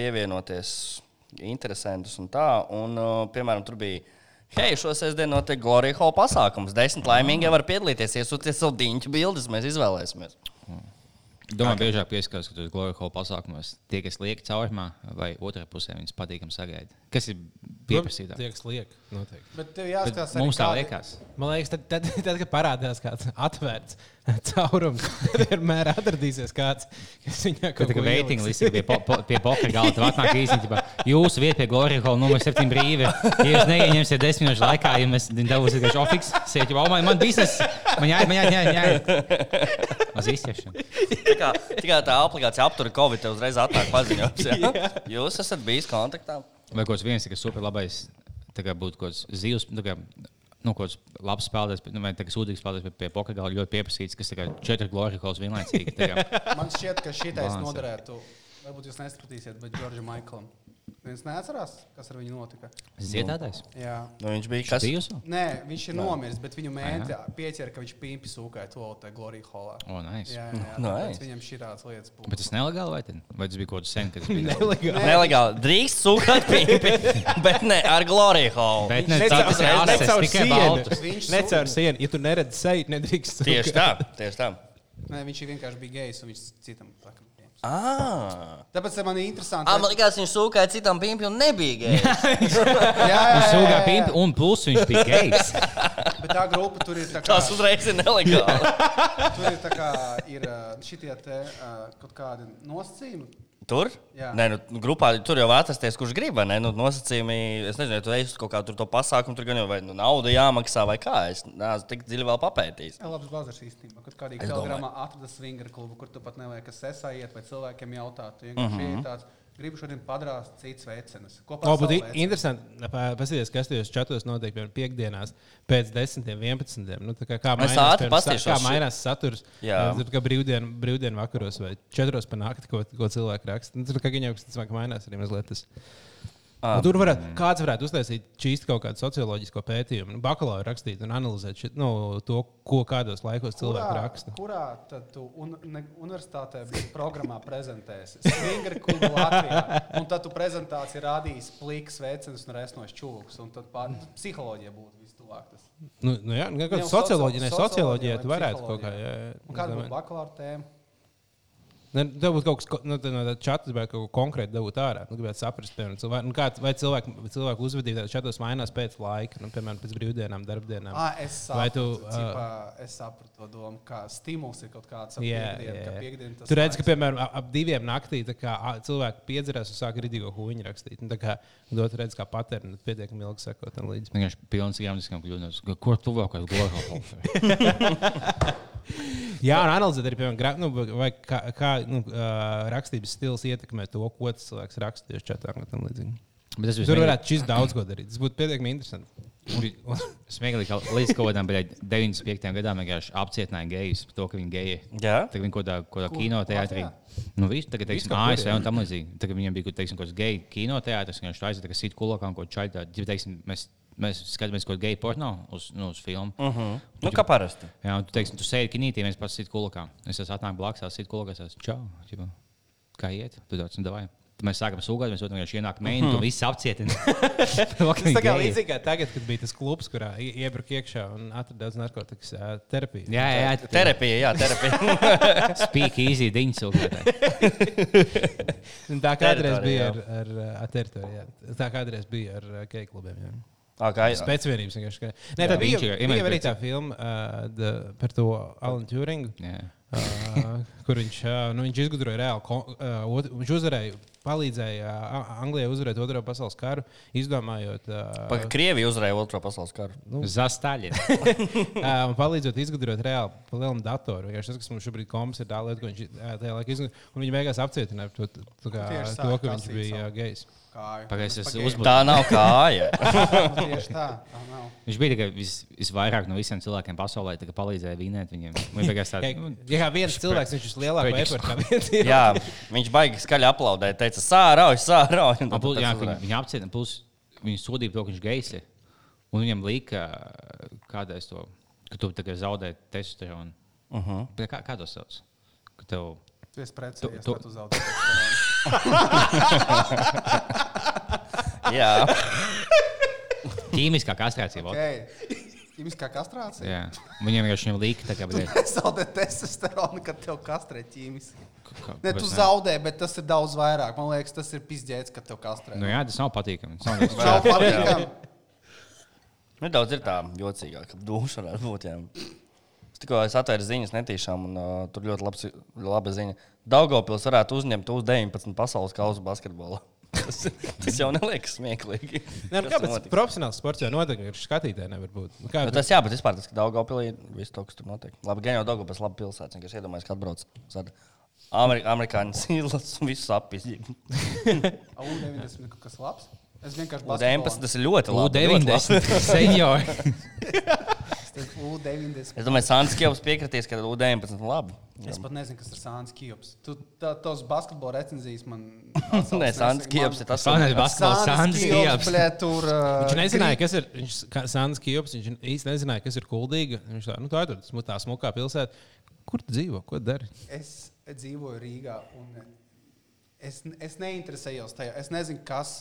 pievienoties interesantus un tā. Un, ā, piemēram, tur bija. Hei, šo sestdienu notiek Glorija Hall pasākums. Desmit laimīgi var piedalīties. Iesūtiet savu diņķu bildes, mēs izvēlēsimies. Domāju, biežāk pieskaras, ka tas Glorija Hall pasākumos tie, kas liek caurumā, vai otrā pusē viņas patīkami sagaida. Kas ir pieprasītāk? Tie, kas liek, noteikti. Bet tev Bet jāskatās, arī Mums tā kādi- liekas. Man liekas, tad, tad, tad kad parādās kāds atvērts caurums, tad vienmēr atradīsies kāds, kas viņā Kad kaut tā kā ko veitinga ieliks. līnija pie, po- po- pie poker galda, tad atnāk īstenībā jūsu vieta pie Glorija Hall numur 7 brīvi. Ja jūs neieņemsiet desmit minūšu laikā, ja mēs dabūsim tikai šofiks, sēžat jau, oh, man, man biznesa, man jāiet, man jāiet, jāiet, jāiet. Uz izķeršanu. Tā kā, tā kā tā aplikācija aptur Covid, tev uzreiz atnāk paziņojums. jā. Jūs esat bijis kontaktā. Vai kaut kas viens, kas super labais, tā kā būtu kaut kāds zivs, tā kā, nu, kaut kāds labs spēlētājs, bet, nu, vai tā kā sūdīgs spēlētājs, bet pie poker galda ļoti pieprasīts, kas tā kā četri Glorija Halls vienlaicīgi. tā kā. Man šķiet, ka šitais Balanss. noderētu. Varbūt jūs nesapratīsiet, bet Džordžam Maiklam. Viens neatcerās, kas ar viņu notika. Ziedātājs? Jā. Nu, viņš bija kas? Bijusi? Nē, viņš ir nomiris, bet viņu mēģināja pieķert, ka viņš pīpi sūkāja to te Glorija Hallā. O, oh, nice. Jā, jā, Nu, tāpēc nice. viņam šī tādas lietas būtu. Bet tas nelegāli vai, tad? vai tas bija kaut kas sen, kad tas bija? Nelegāli. Nelegāli. Drīkst sūkāt pīpi, bet ne ar Gloriju Hall. Bet ne Ne tas caur ir sienu, ne ases, caur tikai baltas. sienu. Viņš Ne sū- caur sienu. Ja tu neredzi seju, nedrīkst. Tieši tā, tieši tā. Nē, viņš vienkārši bija gejs un viņš citam. tā kā pieņems. Ah. Tāpēc man ir interesanti. Ah, man liekas, viņš sūkāja citam pīpim un nebija gejs. jā, jā, jā, Viņš jā, sūgā jā, jā. pimpi, un plus viņš bija gejs. Bet tā grupa tur ir tā kā. Tas uzreiz ir nelegāli. Tur ir tā kā ir ā, šitie te ā, kaut kādi nosacījumi. Tur? Jā. Nē, nu, grupā tur jau atrasties, kurš grib. vai Ne? Nu, nosacījumi, es nezinu, ja tu ej uz kaut kādu to pasākumu, tur gan jau vai nu, nauda jāmaksā vai kā. Es neesmu tik dziļi vēl papētījis. Jā, labs bazars īstenībā. Kad kādā Es domāju. Mhm. telegramā atrada svingra klubu, kur tu pat nevajag sesā iet vai cilvēkiem jautāt. Tu vienkārši mm -hmm. tāds gribu šodien padrāst citas vecenas. Kopā O, ar bet savu i- vecenu. interesanti, pā- paskatieties, kas tajos čatos notiek piemēram, piekdienās pēc 10, 11. Nu, tā kā kā Es mainās, ātri piemēram, sa- paskatīšos kā šo- mainās saturs. eh, Jā. Tur kā brīvdienu, brīvdienu vakaros vai 4. panākti, ko, ko cilvēki raksta. Nu, tur kā viņa augsts, ka mainās arī mazliet. Tas. Ā. Nu, Tur varētu, kāds varētu uztaisīt čīsti kaut kādu socioloģisko pētījumu, nu, bakalaura rakstīt un analizēt šit, nu, to, ko kādos laikos cilvēki raksta. kurā tad tu un, ne, universitātē būs programmā prezentēsi? Stingri kungu Latvijā. Un tad tu prezentāciju rādīs pliks, veicins un resnos čūlis. Un tad pār, psiholoģija būtu vistuvāk. tas. Nu, nu, jā, nu, Ne, kaut uz kā socioloģijā, socioloģijā socio- socioloģijā tu vai varētu kaut kā. psiholoģijā? Jā, jā, Un kāda Es domāju. būtu bakalaura tēma? Ne, Tev būtu kaut kas tāds, nu, tā- no tā čatas, vai kaut ko konkrēti dabūt ārā. Nu, gribētu saprast, piemēram, cilvēku, nu, kāds, vai cilvēku, vai cilvēku uzvedība tajā čatos mainās pēc laika, nu, piemēram, pēc brīvdienām, darbdienām. À, es Vai sapratu, tu, tu, ā, cipā, es sapratu to domu, ka stimuls ir kaut kāds ap Jā, piekdienu, jā, ka jā. piekdienu tas Tu redz, ka, laiks- piemēram, ap- ap diviem naktī tā kā, ā, cilvēki piedzerās un sāk ridīgo huīņu rakstīt. Nu, tā kā dot redz, kā patērni pietiekami ilgi sekot tam līdzi. Vienkārši pilns ar jāmatiskām kļūdām. Kur tuvākais globālais? Jā, un analizēt arī, piemēram, gra, nu, vai kā, kā nu, ā, rakstības stils ietekmē to, ko tas cilvēks raksta tieši čatā un tam līdzīgi. Bet tas Tur varētu šis daudz ko darīt. Tas būtu pietiekami interesanti. bija smieklīgi. ka Līdz kaut kādam brīdim, 95. gadam, vienkārši apcietināja gejus par to, ka viņi geji. Jā, Tagad viņi kaut kādā- kaut kādā kinoteātrī. Nu, visu tagad, teiksim, kaut kur, ASV un tam līdzīgi. Tagad viņiem bija, teiksim, kaut kāds geju kinoteātris, un viņš tur aizjāja, ka sit kulakām kaut ko čaļā. Teiksim, mēs, mēs skatāmies kaut kādu geju porno uz, nu, uz filmu. Mm. uh -huh. nu, kā parasti. Jā, un tu teiksi, tu sēdi kinītī, mēs pats sit kulakā. Es esmu atnācis blakus, es sit kulakā, es esmu čau. ķipa, Kā iet? Tu daudz, nu, davai. Tad Mēs sākam sūgāt, mēs vienkārši ienākam mēnesi, Mm-hmm. un tu visi apcietina. Tas tā kā līdzīgi kā tagad, kad bija tas klubs, kurā ie- iebruka iekšā un atrada daudz narkotikas ā, terapiju. Jā, jā, jā. Terapija, jā, terapija. Speak easy, diņš cilvēks. Un Tā Teritorija, kādreiz bija jā. ar, ar, ar teritoriju. jā. Tā kādreiz bija ar ā, gay klubiem. Jā. Ā, kā ir? Pēcvienības vienkārši. ka- Nē, tā Jā, bija, viņš ir- bija arī iemērķis. tā filma uh, the, par to Alan Turingu. Ā, kur viņš, ā, nu, viņš izgudroja reāli. Ko, ā, ot- viņš uzvarēja, palīdzēja ā, Anglijai uzvarēt Otro pasaules karu, izdomājot. ā, Pagaidām, Krievija uzvarēja Otro pasaules karu. Zastāļi. Ā, Nu. un palīdzot izgudrot reāli lielu datoru. Vienkārši Tas, kas mums šobrīd komis, ir tā lieta, ko viņš ā, tajā laikā izgudroja. Un Viņi beigās apcietināja to, to, to, kā, Tieši tā, to ka kā viņš sīt bija savu. ā, gejs. Kāju. Pagaidzi, es Tas uzbūvēju. pagaidi. Tā nav kāja. Nu, Tieši tā. tā nav. Viņš bija tikai vis, visvairāk no visiem cilvēkiem pasaulē, tā kā palīdzēja vinēt viņiem. Viņš bija tāds nu, Ja, ja kā viens cilvēks, viņš ir lielāks par Pēdējais. eksportu, kā viens cilvēks. jā, viņš baigi skaļi aplaudēja. Teica, sārauj, sārauj. un - tad apgūlis, tas jā, uzvarēja. viņi apcieta, plus viņi sodīja to, ka viņš gejs ir. Un viņam lika kādreiz to, ka tu tagad zaudē testosteronu. Uh -huh. kā, kā to sauc? Ka tev Tu esi precējies, Tu- tad tu- tu zaudē. testosteronu. Jā, ķīmiskā kastrācija vēl. Ok. Ķīmiskā kastrācija. Jā. Viņam vienkārši viņam lika tā kā brīdī. Zaudē testosteronu, kad tev kastrē ķīmiski. Ne, tu zaudē. zaudē, bet tas ir daudz vairāk. Man liekas, tas ir pizdzēts, ka tev kastrē. Nu, jā, tas nav patīkami. Tas nav Jā. Nav patīkami. nedaudz ir tā jocīgāk. Dūša varētu būt. Jā. Es tikko es atvēru ziņas netīšām, un uh, tur ļoti labs, laba ziņa. Daugopils varētu uzņemt uz 19 pasaules kausa basketbolā. Tas, tas jau neliekas smieklīgi. Nē, Kas nu, tur kāpēc notika? profesionāls sports jau noteikti ir skatītājai nevar būt? Nu, Kā, Nu, tas jā, bet vispār tas, ka Daugopilī ir viss to, kas tur notiek. Labi, gan jau Daugopils ir laba pilsēta. Es iedomājos, ka atbrauc uz tādu Ameri amerikāņu sīlas un visu apziņu. Au, 90 kaut kas labs. Es vienkārši U19 tas ir ļoti labi. ļoti labi. U90 seniori. basketbolu. U90. Es domāju, Sāns Kjevs piekritīs, ka U19 ir labi. Es pat nezinu, kas ir Sāns Kjūps. Tu tā, tos basketbola recenzijas man. Nē, Sāns Kjevs ir tas, Sānis kas Basketbols, Sāns Kieps. Blē, tur, uh, Viņš nezināja, kas ir viņš, kā Sāns Kjūps. Viņš īsti nezināja, kas ir kuldīga. Viņš tā, nu, tā ir tur, tā smukā pilsēta. Kur tu dzīvo? Ko dari? Es dzīvoju Rīgā, un es, es neinteresējos tajā. Es nezinu, kas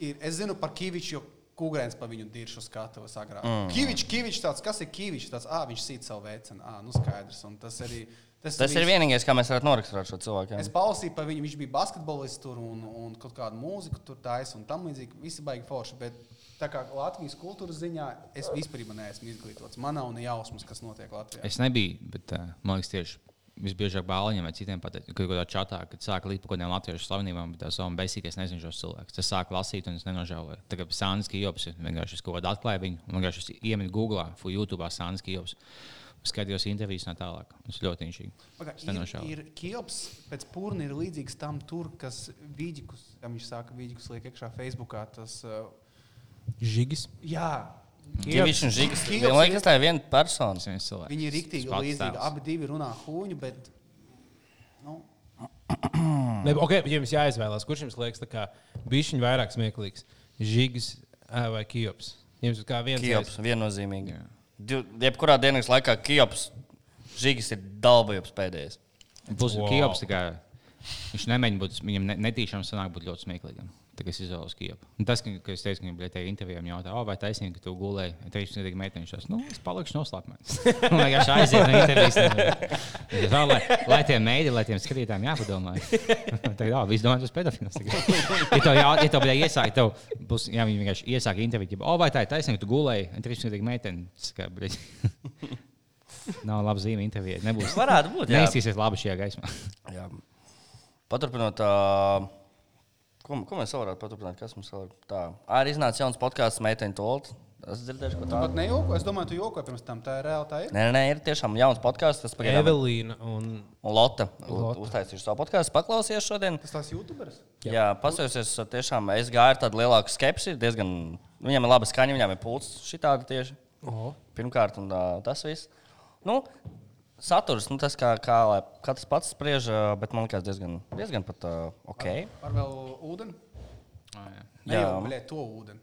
ir. Es zinu par Kīviču, jo Kungrēns pa viņu diršu skatuvas agrāk. Mm. Kīvičs, Kīvičs tāds, kas ir Kīvičs? Tāds, ā, viņš sīt savu veicinu. Ā, nu skaidrs. Un tas arī. Tas, Tas ir viss. vienīgais, kā mēs varētu norakstīt šo cilvēku. jā. Es palasīju par viņu, viņš bija basketbolists tur un, un kaut kādu mūziku tur taisīja un tam līdzīgi. Visi baigi forši. Bet tā kā Latvijas kultūras ziņā es vispār neesmu izglītots. Man nav ne jausmas, kas notiek Latvijā. Es nebiju, bet uh, man liekas, tieši visbiežāk bāliņiem vai citiem pateikt, kad kādā čatā, kad sāka līdz kaut kādiem latviešu slavenībām, bet tā savam beisīgais nezinu šos cilvēkus. Tas sāk lasīt, un es nenožēloju. Tagad Sānis Kijops ir vienkārši es kaut kādā atklāja viņu, un vienkārši es iemetu Google, fu YouTube Sānis Kijops. skatījos intervijas no tālāk. Tas ļoti inšīgi. Paga, Es te ir, nošāvu. ir kiops, pēc pūna ir līdzīgs tam, tur, kas vīģikus, kam viņš sāka vīģikus liek iekšā Facebookā. Tas, uh, Žigis. jā, Ģivis un Žigs. Kiops Man ir- liekas, tā ir viena persona. Tas viens cilvēks. Viņi ir rīktīgi Tas pats līdzīgi. tēls. Abi divi runā huņu, bet. Nu, Mm. Ne, okay, jums jāizvēlās, kurš jums liekas, bijis viņa vairāk smieklīgs. Žigis ā, vai Kiops? Jums ir kā viens Kiops, viennozīmīgi. Div- Jebkurā dienas laikā Kiops, Žigs ir dalbojums pēdējais. Plus, Wow. wow. Kijops, tā kā, viņš nemēģina būt, viņam ne, netīšām sanāk būt ļoti smieklīgam. Tā kā es izvēlos Kijopu. Un Tas, ka, ka es teicu, ka viņam bija tajā intervijā, viņa jautāja, oh, vai taisnība, ka tu gulēji. Es teicu, ka tikai meitene, viņš teica, nu, es palikšu noslēpumēs. Man vienkārši aiziet no intervijas. Viņš teica, "Vēl Lai, lai tiem meitiem, lai tiem skatītājiem jāpadomā. Tagad, oh, viss domā, tas pedofils. tagad." Ja tev, jā, ja tev bija iesākt, tev būs, ja viņi vienkārši iesāk interviju, tad, oh, vai tā ir taisnība, ka tu gulēji. Un teicu, ka tikai meitene. Tas kā, bļaļ, Nav laba zīme intervijai. Nebūs. Varētu būt, jā. Neizsīsies labi šajā gaismā. Jā. Paturpinot, ā, ko, ko mēs vēl varētu paturpināt, kas mums vēl ir tā. Arī iznāca jauns podkāsts Meitene Tolt. Es dzirdēju, ka tā pat nejoko. Es domāju, tu jokoji pirms tam. Tā ir reāli. Tā ir. Nē, nē, nē, ir tiešām jauns podkāsts. Tas ir pagaidām ir Evelīna un Lotte. Lotte. Uztaisīšu savu podkāstu, paklausies šodien. Tas tās YouTuberis. Jā, Jā paskatieties, tiešām es gāju ar tādu lielāku skepsi. Diezgan, nu, viņam ir laba skaņa, viņam ir pulss šitādi tieši. Oho. Pirmkārt, un, uh, tas viss. Nu, saturs, nu, tas kā, kā lai- katrs pats spriež, uh, bet man liekas, diezgan, diezgan pat uh, ok. Ar vēl ūdeni? Jā. Jā, blē, to ūdeni.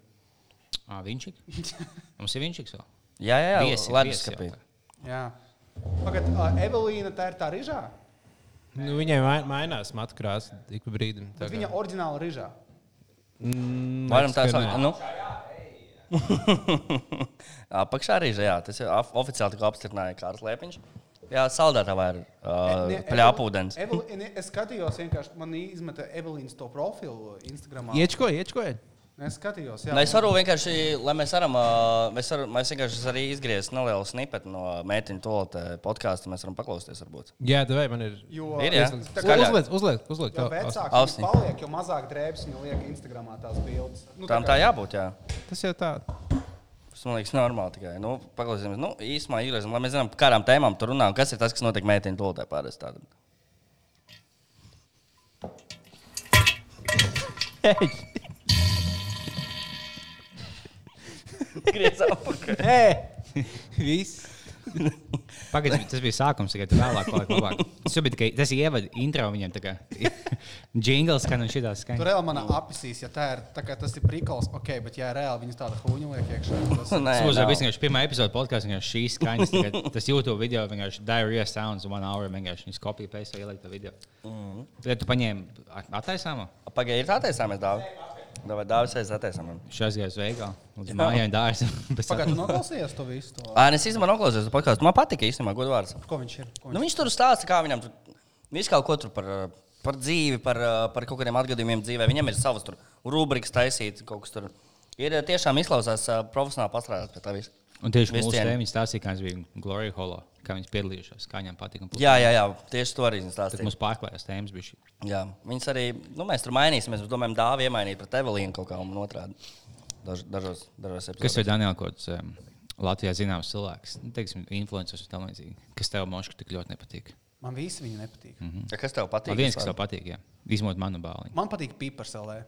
Ah, viņš ir. Mums ir viņš vēl. Jā, jā, jā Viesi, labi viesi skatīt. jautā. Jā. Pagad, uh, Evelīna, tā ir tā rīžā. nu, viņai mai- mainās matu krāsa ik pa brīdim. Bet viņa oriģināla rīžā. Mm, Varam tā liekas, ka saukt. nē. Nu. Apakšā arī žēl. Tas ir af- oficiāli tikko apstiprināja Kārls Lēpiņš. Jā, saldētavā ir E, uh, pļāpūdens. Evelīna, es skatījos, vienkārši man izmeta Evelīnas to profilu Instagram. nu- Iečko, iečko. Es skatījos, jā. Nē, Es varu vienkārši, lai mēs varam, ā, mēs, varam, mēs vienkārši es arī izgriezt nelielu snipetu no mētīņa to podkāstu. Mēs varam paklausīties, varbūt. Jā, tev man ir. Jo, Ir, jā. Tā kā- Skaļāk. Uzliek, uzliek, uzliek. Jo to- vecāks Ausī. viņš paliek, jo mazāk drēbes viņa liek Instagramā tās bildes. Nu, Tam kā- tā jābūt, jā. Tas jau tā. Tas man liekas normāli tikai. Nu, paklausīsimies, nu, īsumā izgriezam, lai mēs zinām, par kādām tēmām tur runājam, kas ir tas, kas notiek mētīņa to parasti. Griezām apakaļ. Ē! Viss. Pagaidzi, tas bija sākums, tagad vēlāk paliek labāk. Tas jau bija tikai tas ievada intro viņam. tā kā. Jingles skan un šitās Tur skan. reāli manā apisīs, ja tā ir, tā kā tas ir prikals, ok, bet ja reāli viņas tāda huņu liek iekšā. Tas... Nu, Nē, Tas būs nav. jau vienkārši pirmā epizode podkāstā, vienkārši šīs skaņas. tagad Tas YouTube video vienkārši diarrhea sounds one hour, vienkārši viņš kopija paste ieliek to video. Mhm. Tad tu paņēmi at- attaisāmo, Pagaidiet, ir tā taisāmies, Dārvis. Vai Dārvis aiz attaisāmies? šās gājas veikā, līdz mājām Pagaidu, dārzam. noklausījies to visu. To. Ā, es īstenībā noklausījos to podkāstu. Man patika īstenībā godvārds. Ko viņš ir? Ko viņš... Nu, viņš tur stāsta, kā viņam tur viss kaut ko tur par, eh, par dzīvi, par, eh, par kaut kādiem atgadījumiem dzīvē. Viņam ir savas tur rubrikas taisītas, kaut kas tur. Ir eh, tiešām izklausās eh, profesionāli pastrādāt pie tā visa. Un tieši Viss mūsu cien. tēmā viņš stāstīja, kā viņš bija Glory Hall, kā viņš piedalījušās, kā viņam patika. un Jā, jā, jā, tieši to arī viņi Tad stāstīja. mums pārklājās tēmas. Bišķi. Jā, viņas arī, nu, mēs tur mainīsimies. Mēs domājam, dāvā iemainīt pret Evelīnu kaut kā un otrādi. Daž, dažos, dažos Kas epizodēs. ir Daniela Kods? Um, Latvijā zināms cilvēks, nu, teiksim, influenceris un tā līdzīgi, kas tev moškā tik ļoti nepatīk. Man visi viņa nepatīk. Mm -hmm. Ja Kas tev Tā patīk? viens, kas tev patīk, jā. izņemot manu bāliņu. Man patīk E. piparselē.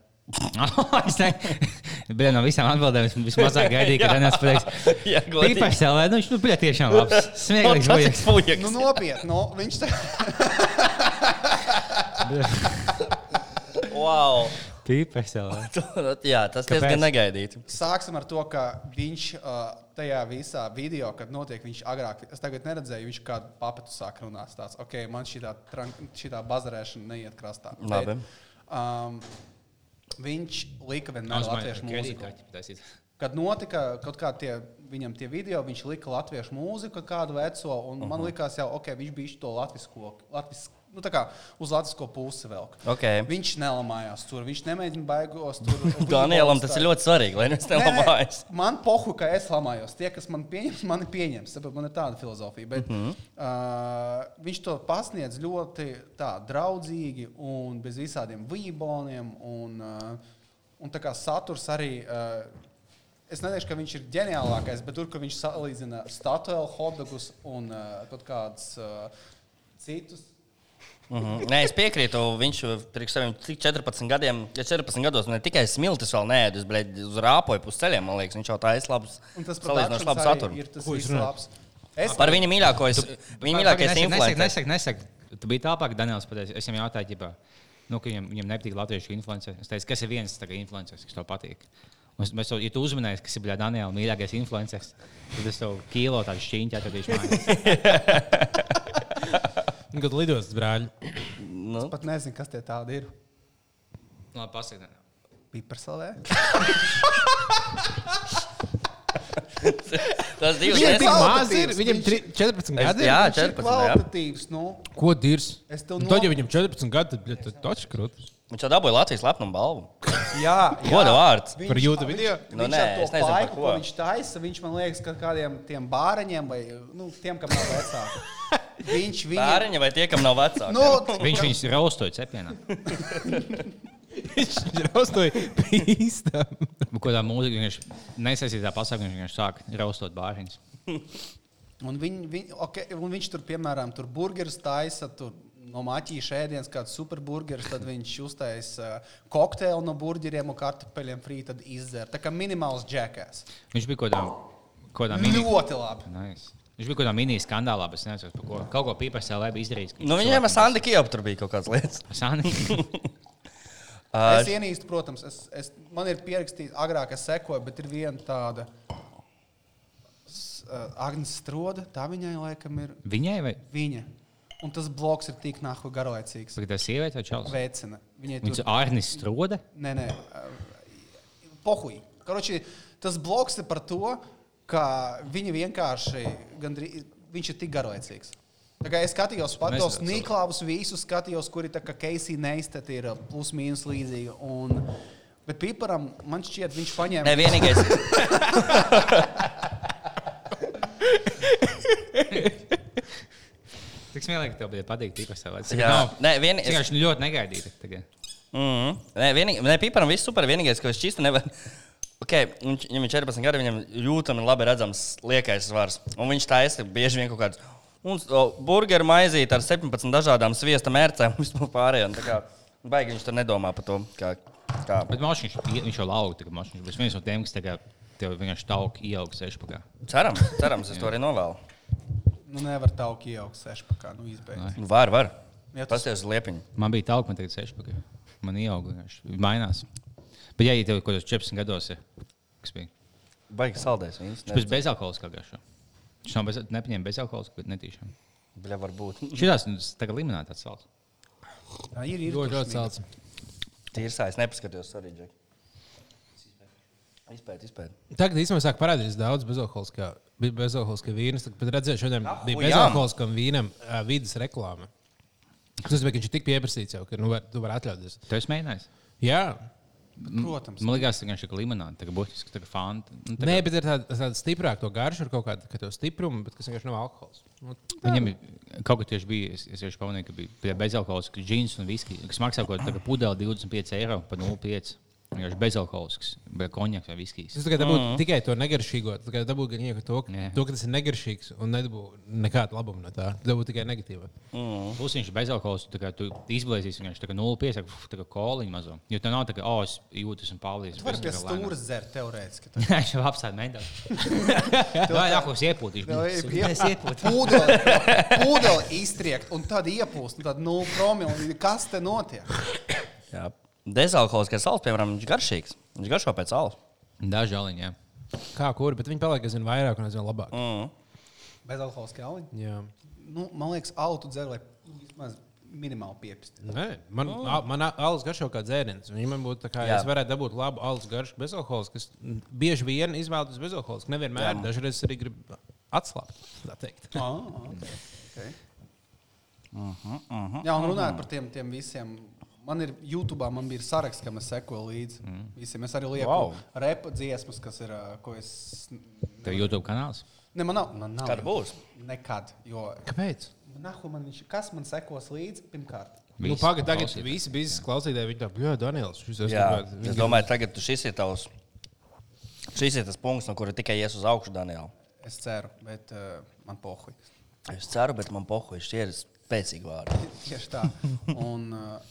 Bija no visām atbildēm, es vismazāk gaidīju, ka Daniels pateiks, Jā, godīgi. Pīpārs tev, nu viņš nu, bija tiešām labs. Smieklīgs bija. fuck. Nu, nopietni, no, viņš tā Wow. nu, Pīpārs tev. Jā, tas diezgan negaidīti. sāksim ar to, ka viņš uh, tajā visā video, kad notiek, viņš agrāk, es tagad neredzēju, viņš kādu papetu sāk runāt. Tāds, ok, man šī tā bazarēšana neiet krastā. Labi. Bet, Um, viņš lika vienmēr latviešu mūziku. Kad notika kaut kādi tie, viņam tie video, viņš lika latviešu mūziku, kādu veco, un uh -huh. Mhm. man likās, jau, ok, viņš bija to latviešu, latvis, nu, tā kā uz latviešu pusi vēl. Ok. Viņš nelamājās tur, viņš nemēģina baigos tur. Danielam tas ir ļoti svarīgi, lai viņš Nē, nē, nelamājas. Man pohu, ka es lamājos. Tie, kas man pieņems, mani pieņems. Tāpēc man ir tāda filozofija. Bet, mm Mhm. -hmm. uh, viņš to pasniedz ļoti tā, draudzīgi un bez visādiem vīboniem. Un, uh, un tā kā saturs arī. Uh, Es nedomāju, ka viņš ir ģeniālākais, bet tur, kur viņš salīdzina statuēlu, hotdogus un uh, kaut kādus uh, citus. Mhm. Nē, es piekrītu. Viņš pirms saviem cik 14 gadiem, ja 14 gados ne tikai smiltis vēl nē, bet arī uz rāpoju pusceļiem. Man liekas, viņš jau tā ir labs. Un tas Salīdzinoši labs productions arī saturs. ir tas Ko jūs viss runājat? labs. Es Par viņa mīļāko, es, viņa mīļākais Nesaki, nesaki, influenceris. nesaki, nesaki. Tu biji tālāk, Daniels, pateicis. Es viņam jautāju, ģipā, nu, ka viņam, viņam nepatīk latviešu influenceris. Es teicu, kas ir viens tagad influenceris, kas tev patīk. Un es- Mēs jau, ja tu uzminēji, kas ir bijis Daniela mīļākais influenceris, tad es tev kilo tādu šķīņķi atradīšu mājās. Nu, Kad lidostas brāļi. Nu, pat nezinu, kas tie tādi ir. Labi, pasaka, Daniel. Pipersalē. tas divas Viņam reizes. tik maz ir, kvalitatīvs, viņam viņš- tri- 14 Es- gadi. ir? jā. Viņš ir 14, jā. kvalitatīvs. Nu, Ko dirs? Es tev Nu, no- Tad, ja viņam 14 gadi, tad, bļet, tad taču krūtis. Viņš jau dabūja Latvijas lepnumu balvu. jā, jā. Goda vārds. Viņš- Par YouTube video? Nu, viņš nē, ar to es nezinu, par laiku, ko. ko viņš taisa, viņš man liekas, ka kādiem tiem bāreņiem vai nu, tiem, kam nav vecāki. Viņš viņu Bāriņa vai tie, kam nav vecāki? Nu, Viņš viņus raustoja cepienā. Viņš ir austoja pīstam. Ko tā mūzika vienkārši nesaistītā pasaka, viņš vienkārši sāk raustot bāriņus. Un, viņ, viņ, okay, un viņš tur, piemēram, tur burgerus taisa. Tur. No maķīša ēdienas, kāds superburgeris, tad viņš uztaisīja uh, kokteili no burgeriem un kartupeļiem frī, tad izdzēra. Tā kā minimāls džekēs. Viņš bija kaut kādā, kaut kādā Nu. mini. Ļoti labi. Nice. Viņš bija kaut kādā mini skandālā, bet es nezinu, par ko. Kaut ko pīpēs LB E izdarījis. ka viņš Nu, viņiem ar cilvēkam- Sandu Kjopu tur bija kaut kādas lietas. Sandi. Ā, Es ienīstu, protams, es, es, man ir pierakstīts, agrāk es sekoju, bet ir viena tāda S- uh, Agnēs Stroda. Tā viņai laikam ir Viņai vai viņa. Un tas bloks ir tik nahu garlaicīgs. Tagad tas sieviete vai čels? Veicina. Viņai tur Viņš ir Arnis Strode. Nē, nē, eh, pohuj. Karoči, tas bloks ir par to, ka viņi vienkārši, gandrī, viņš ir tik garlaicīgs. Tā kā Es skatījos, Nesaprotu. patos Niklaus, visus skatījos, kuri tā kā Keisija neizteikt, ir plus-mínus līdzīga. Un, bet Piparam, man šķiet, viņš paņēma. Nē, vienīgais. Tik smieklīgi, ka tev bija patīk tīpas savāds. Jā. Nē, vien, Es vienkārši ļoti negaidīju. tagad. Mm -hmm. Nē, vienīgi, ne, Pīparam viss super. Vienīgais, ko es šķīstu, nevar. Okay, viņš, viņam ir 14 gadi, viņam jūtami labi redzams liekais svars. Un viņš taisa bieži vien kaut kāds. Un o, burgeru maizīti ar 17 dažādām sviesta mērcēm un vispār pārējiem. Tā kā nu, baigi viņš tur nedomā par to. Kā, kā. Bet Mošs, viņš, viņš jau lauva, tagad Mošs būs viens no tiem, kas tagad tev vienkārši tauk ieaug sešpagā. Cerams, cerams, es to arī novēlu. Nu, nevar tauki iejaukt sešpakā, nu, izbeigt. Var, var. Jā, tas- Pasties uz liepiņu. Man bija tauk, man tagad sešpagā. Man ieauga vienkārši. Mainās. Bet ja ja tev kaut kādos 14 gados ir, kas bija? Baigi saldēs viņus. Viņš bija bezalkoholiskā garšā. Viņš nav bez, nepaņēma bezalkoholisku, bet netīšām. Bļa, varbūt. Šitās nu, tas tagad limonāts atsauc. Tā ir īri. Ļoti ļoti salds. Tīrsā es nepaskatījos, arī Džek. Izpēt, izpēt. Tagad īstenībā sāk parādīties daudz bezalkoholiskā. Bija bezalkoholiskā vīna. Tad pat redzēju, šodien bija jām! bezalkoholiskam vīnam ā, vidas reklāma. Tas nozīmē, ka viņš ir tik pieprasīts jau, ka nu, var, tu vari atļauties. Tu esi mēģinājis? Jā, Protams. Man liekas, tas ir limonāts, tagad būtiski, tagad fanta. Nu, Nē, bet ir tāda, tāda stiprāka to garša, ar kaut kādu ka tev stiprumu, bet kas vienkārši nav alkohols. Nu, Viņam ir- kaut kā tieši bija, es, es vienkārši pamanīju, ka bija, bija bezalkoholisks džins un viskija, kas maksā kaut kāda pudele 25 eiro par 0,5. Vienkārši bezalkoholisks, bet konjaks vai viskijas. Es tikai dabūju mm. tikai to negaršīgo. Es tikai dabūju gan ieku to, Jā. yeah. to, ka tas ir negaršīgs un nedabūju nekādu labumu no tā. Dabūju tikai negatīvu. Mm. Plus viņš ir bezalkoholisks, tā kā tu izblēsīsi viņam 0,5 tā kā, tā kā koliņu mazo. Jo tev nav tā, ka, oh, es jūtos un pālies. Tu vari pie stūres dzert teorētiski. Nē, viņš jau apstāda mentāli. Vai nākos iepūtīšu? Es iepūtīšu. Pūdeli iztriekt un tad iepūst. un Tad, nu, promili, kas te notiek? Jā. Dezalkoholiskais sāls, piemēram, viņš garšīgs. Viņš garšo pēc sāla. Daži aliņi, jā. Kā kur, bet viņi paliek aizvien vairāk un aizvien labāk. Mm. Bezalkoholiski aliņi. Jā. Nu, man liekas, autu dzer, lai vismaz minimāli piepst. Nē, man oh. a, man a- alus garšo kā dzēriens. Viņam būtu tā kā, Jā. ja es varētu dabūt labu alus garšu bezalkoholisku, kas mm, bieži vien izvēlas bezalkoholisku. Nevienmēr, Jā. dažreiz es arī gribu atslābt. tā teikt. Ah, Okay. Jā, un runājot par tiem, tiem visiem. Man ir YouTube, man bija saraksts, kam es sekoju līdzi. Mm. Visiem es arī lieku wow. Wow. repa dziesmas, kas ir, ā, ko es. Tev YouTube kanāls. Ne, man nav. Man nav Kad būs? Nekad. Jo Kāpēc? Nahu man viņš, kas man sekos līdzi pirmkārt? Nu, Visi Pagaidā, tagad klausītāji. visi bija klausītāji. Viņi tā, jā, Daniels, šis Jā, gribētu- es domāju, tagad tu šis ir tavs Šis ir tas punkts, no kura tikai ies uz augšu, Daniel. Es ceru, bet uh, man pohuļ. Es ceru, bet man pohuļ, šie ir spēcīgi vārdi. Tieši tā. Un, uh,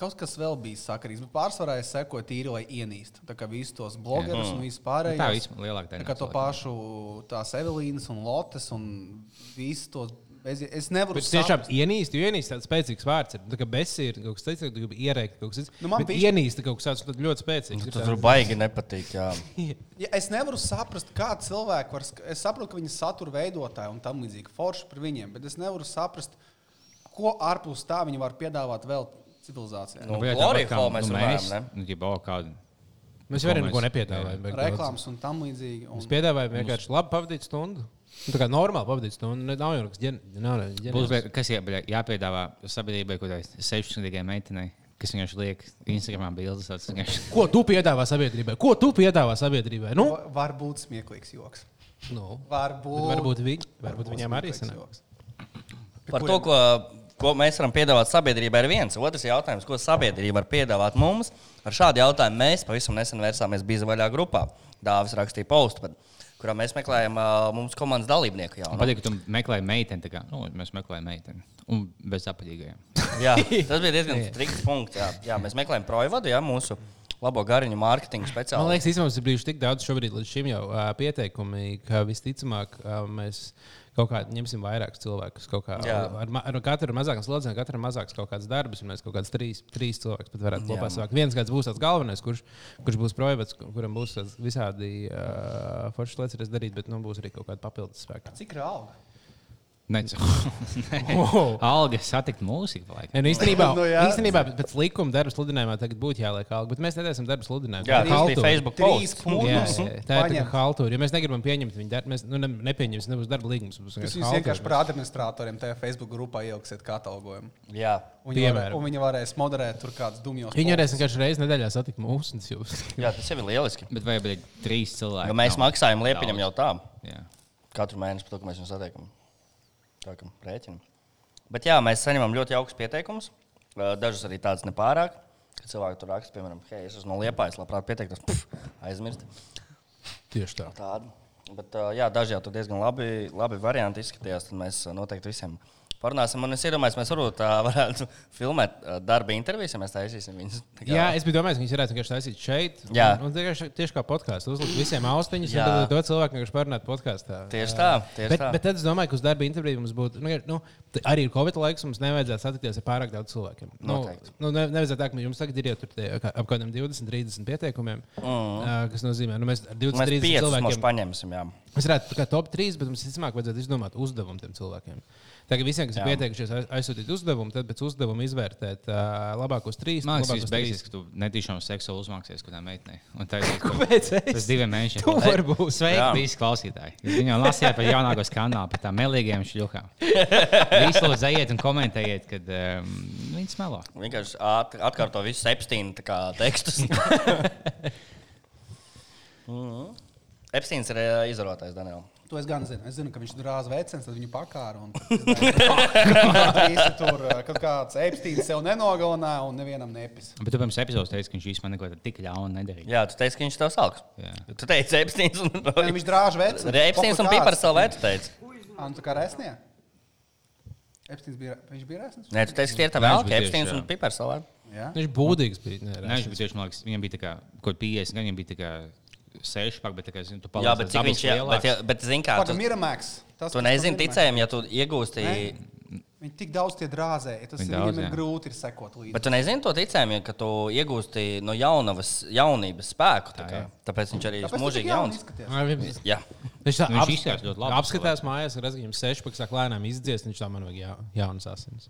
Kaut kas vēl bija sakarīgs, bet pārsvarā es sekoju tīri, lai ienīstu. Tā kā visus tos blogerus un vispārējos. Nu, tā vispār lielāka daļa Tā kā to cilvēku. pašu, tās Evelīnas un Lotes un visus tos. bez- Es nevaru Bet es tiešām ienīstu, jo ienīstu tāds spēcīgs vārds. Ir. Nu, Tā kā besija ir kaut kas tāds, ko gribi ierēkt. Kaut kas cits. Nu, man Bet bišķi- ienīstu kaut kas tāds Nu, tad ļoti spēcīgs. Tu tur baigi nepatīk. Jā. Ja es nevaru saprast, kā cilvēki var. sk- Es saprotu, ka viņi ir satura veidotāji un tam līdzīgi forši par viņiem, bet es nevaru saprast, ko ārpus tā viņi var piedāvāt vēl civilizācijai. Nu, No. Nu, bija Glory tāpat kā- Hall mēs nu, runājam, mēs, ne? nu, ja bauda kādu. Mēs varam Ko neko mēs- nepiedāvājam. bet kaut kāds- Reklāmas un tam līdzīgi. Un... Mēs piedāvājam vienkārši labi pavadīt stundu. Nu, tā kā normāli pavadīt stundu. Ne- Nav jau nekas ģen- nav ne- Būs, ģeniāls. bet kas jā- bļa, jāpiedāvā sabiedrībai, ko tādai 16-gadīgai meitenei, kas vienkārši liek Instagram bildes. tāds vienkārši- Ko tu piedāvā sabiedrībai? Ko tu piedāvā sabiedrībai? Nu, Va- Var būt smieklīgs joks. nu. Varbūt, Bet varbūt viņi- varbūt viņiem arī smieklīgs sanāk. joks. Par to, ko, ko mēs varam piedāvāt sabiedrībai, ir viens. Otrs jautājums, ko sabiedrība var piedāvāt mums. Ar šādu jautājumu mēs pavisam nesen vērsāmies bija vaļā grupā. Dāvis rakstīja postu, par- kurā mēs meklējam ā, mums komandas dalībnieku Man jaunu. Patīk, ka tu meklē meiteni. tā Kā, nu, mēs meklējam meiteni. Un bez apaļīgajiem. Jā, tas bija diezgan strikts punkts. Jā, jā mēs meklējam projevadu, jā, mūsu labo gariņu mārketinga Man speciālistu. liekas, īstenībā ir bijuši tik daudz šobrīd līdz šim jau uh, pieteikumi, ka visticamāk uh, mēs kaut kā ņemsim vairākus cilvēkus. kaut Kā, Jā. ar, ma- ar katru mazāku slodzi, katru mazāks kaut kāds darbs, un mēs kaut kāds trīs, trīs cilvēkus pat varētu Jā. kopā savākt. Viens kāds būs tāds galvenais, kurš, kurš būs projekts, kuram būs tāds visādi uh, foršas lietas, kas darīt, bet nu, būs arī kaut kāda papildus spēka. Cik rauga? Neceru. Wow. Alga satikt mūziku. laikam. Nē, nu, īstenībā, Nu, no, jā. īstenībā pēc likuma darba sludinājumā tagad būtu jāliek alga, bet mēs nedarām darba sludinājumu. Jā, Tā tas ir bija haltūra. Facebook nu, Trīs posts. Jā, punktus. jā, jā. tā ir tā kā haltūra. Ja mēs negribam pieņemt viņu darbu, mēs nu, ne, nepieņemsim, nebūs darba līgums. Būs Jūs vienkārši jūs haltūra. vienkārši par administratoriem tajā Facebook grupā ieliksiet katalogojumu. Jā, Un viņi, var, Piemēram. un viņi varēs moderēt tur kādus dumjos. Viņi varēs vienkārši reizes nedēļā satikt mūsu un jūs. jā, tas jau ir lieliski. Bet vai bija trīs cilvēki? Jo mēs nav? maksājam liepiņam jau tā. Jā. katru mēnesi par to, ka mēs viņus satiekam. Tā kā rēķinam. Bet jā, mēs saņemam ļoti jaukus pieteikumus. Eh, Dažus arī tādus nepārāk. kad Cilvēki tur raksta, piemēram, hei, es esmu no Liepājas, labprāt pieteiktos. Pf, Aizmirst Tieši tā. tādu. Bet, eh, jā, daži jau tur diezgan labi, labi varianti izskatījās. Tad mēs eh, noteikti visiem parunāsim. Un es iedomājos, mēs varbūt eh, varētu filmēt eh, darba intervijas, ja mēs taisīsim viņus. Tā kā- Jā, es biju domājis, ka viņi varētu vienkārši taisīt šeit. Jā. un, un tieši, tieši kā podkāstu. Uzlikt visiem austiņus, Jā. un tad to cilvēku vienkārši parunāt podkāstā. Tieši tā, tieši Bet, tā. bet tad es domāju, ka uz darba interviju mums būtu nu, nu, t- arī ir Covid laiks. Mums nevajadzētu satikties ar pārāk daudz cilvēkiem. Nu, Noteikti. nu, ne, nevajadzētu tā, ka jums tagad ir jau tur tie, kā- ap kādiem 20, 30 pieteikumiem. Uh, kas nozīmē, ka nu, mēs ar 20, mēs 30 piecus mums cilvēkiem paņemsim. Jā. Mēs varētu būt top 3, bet mums visticamāk vajadzētu izdomāt uzdevumu tiem cilvēkiem. Tagad visiem, kas ir Jā. pieteikušies, aiz- aizsūtīt uzdevumu, tad pēc uzdevuma izvērtēt uh, labākos trīs. Man liekas, labākos tas beigsies, ka tu netīšām seksuāli uzmāksies kādai meitenei. Un tā ir Kāpēc es? Tas diviem mēnešiem. Tu vari būt. Sveiki, Jā. visi klausītāji. Jūs Viņam lasījāt par jaunāko skandālu, par tām melīgajām šļūkām. Visi lūdzu, ejiet un komentējiet, kad um, viņi smelo. Vienkārši at, atkārto visu septiņu tekstus. Mhm. Epsteins ir ē, izvarotais, Daniel. To es gan zinu. Es zinu, ka viņš tur rāza vecens, tad viņu pakāra. Un, tad visi tur eh, kaut kāds Epsteins sev nenogalināja un nevienam nepis. Bet tu pirms epizodes teici, ka viņš īstenībā neko tādu tik ļaunu nedarīja. Jā, tu teici, ka viņš tev salks. Jā. Tu teici, Epsteins un Nē, Viņš drāž vecens. Epsteins un Pipars vēl vētu teici. Anu, tu kā resnie? Epsteins bija, viņš bija resnis? Nē, tu teici, ka tie ir tavi Nē, vēl, viņš bija Epsteins tieši, un jā. Pipars vēl vētu. Jā. Nu, Viņš būdīgs bija. Nē, Nē, viņš bija tieši, man liekas, viņam bija tā kā kaut kāda 50, gan viņam bija tā kā 6 pak, bet tā kā, zinu, tu Jā, paliec bet tāds cik dabisks viņš ir? Bet, lielāks. ja- bet zini kā, Pagaidām, tu, Miramēks. Tas, tu kas nezini par Miramax. ticējumi, ja tu iegūsti. Nē. Viņi tik daudz tie drāzē, ja tas Viņi ir, viņiem daudz, ir jā. grūti ir sekot līdzi. Bet tu nezini to ticējumi, ka tu iegūsti no jaunavas, jaunības spēku. Tā kā. Tāpēc viņš arī ir Tāpēc tu tik mūžīgi jauns. jauni izskaties. bija. Jā. Viņš tā Nu, viņš izskatās ļoti labi. Apskatās mājās, redz, ka viņam sešpaks sāk lēnām izdziest. Viņš tā man vajag jā, jaunas asins.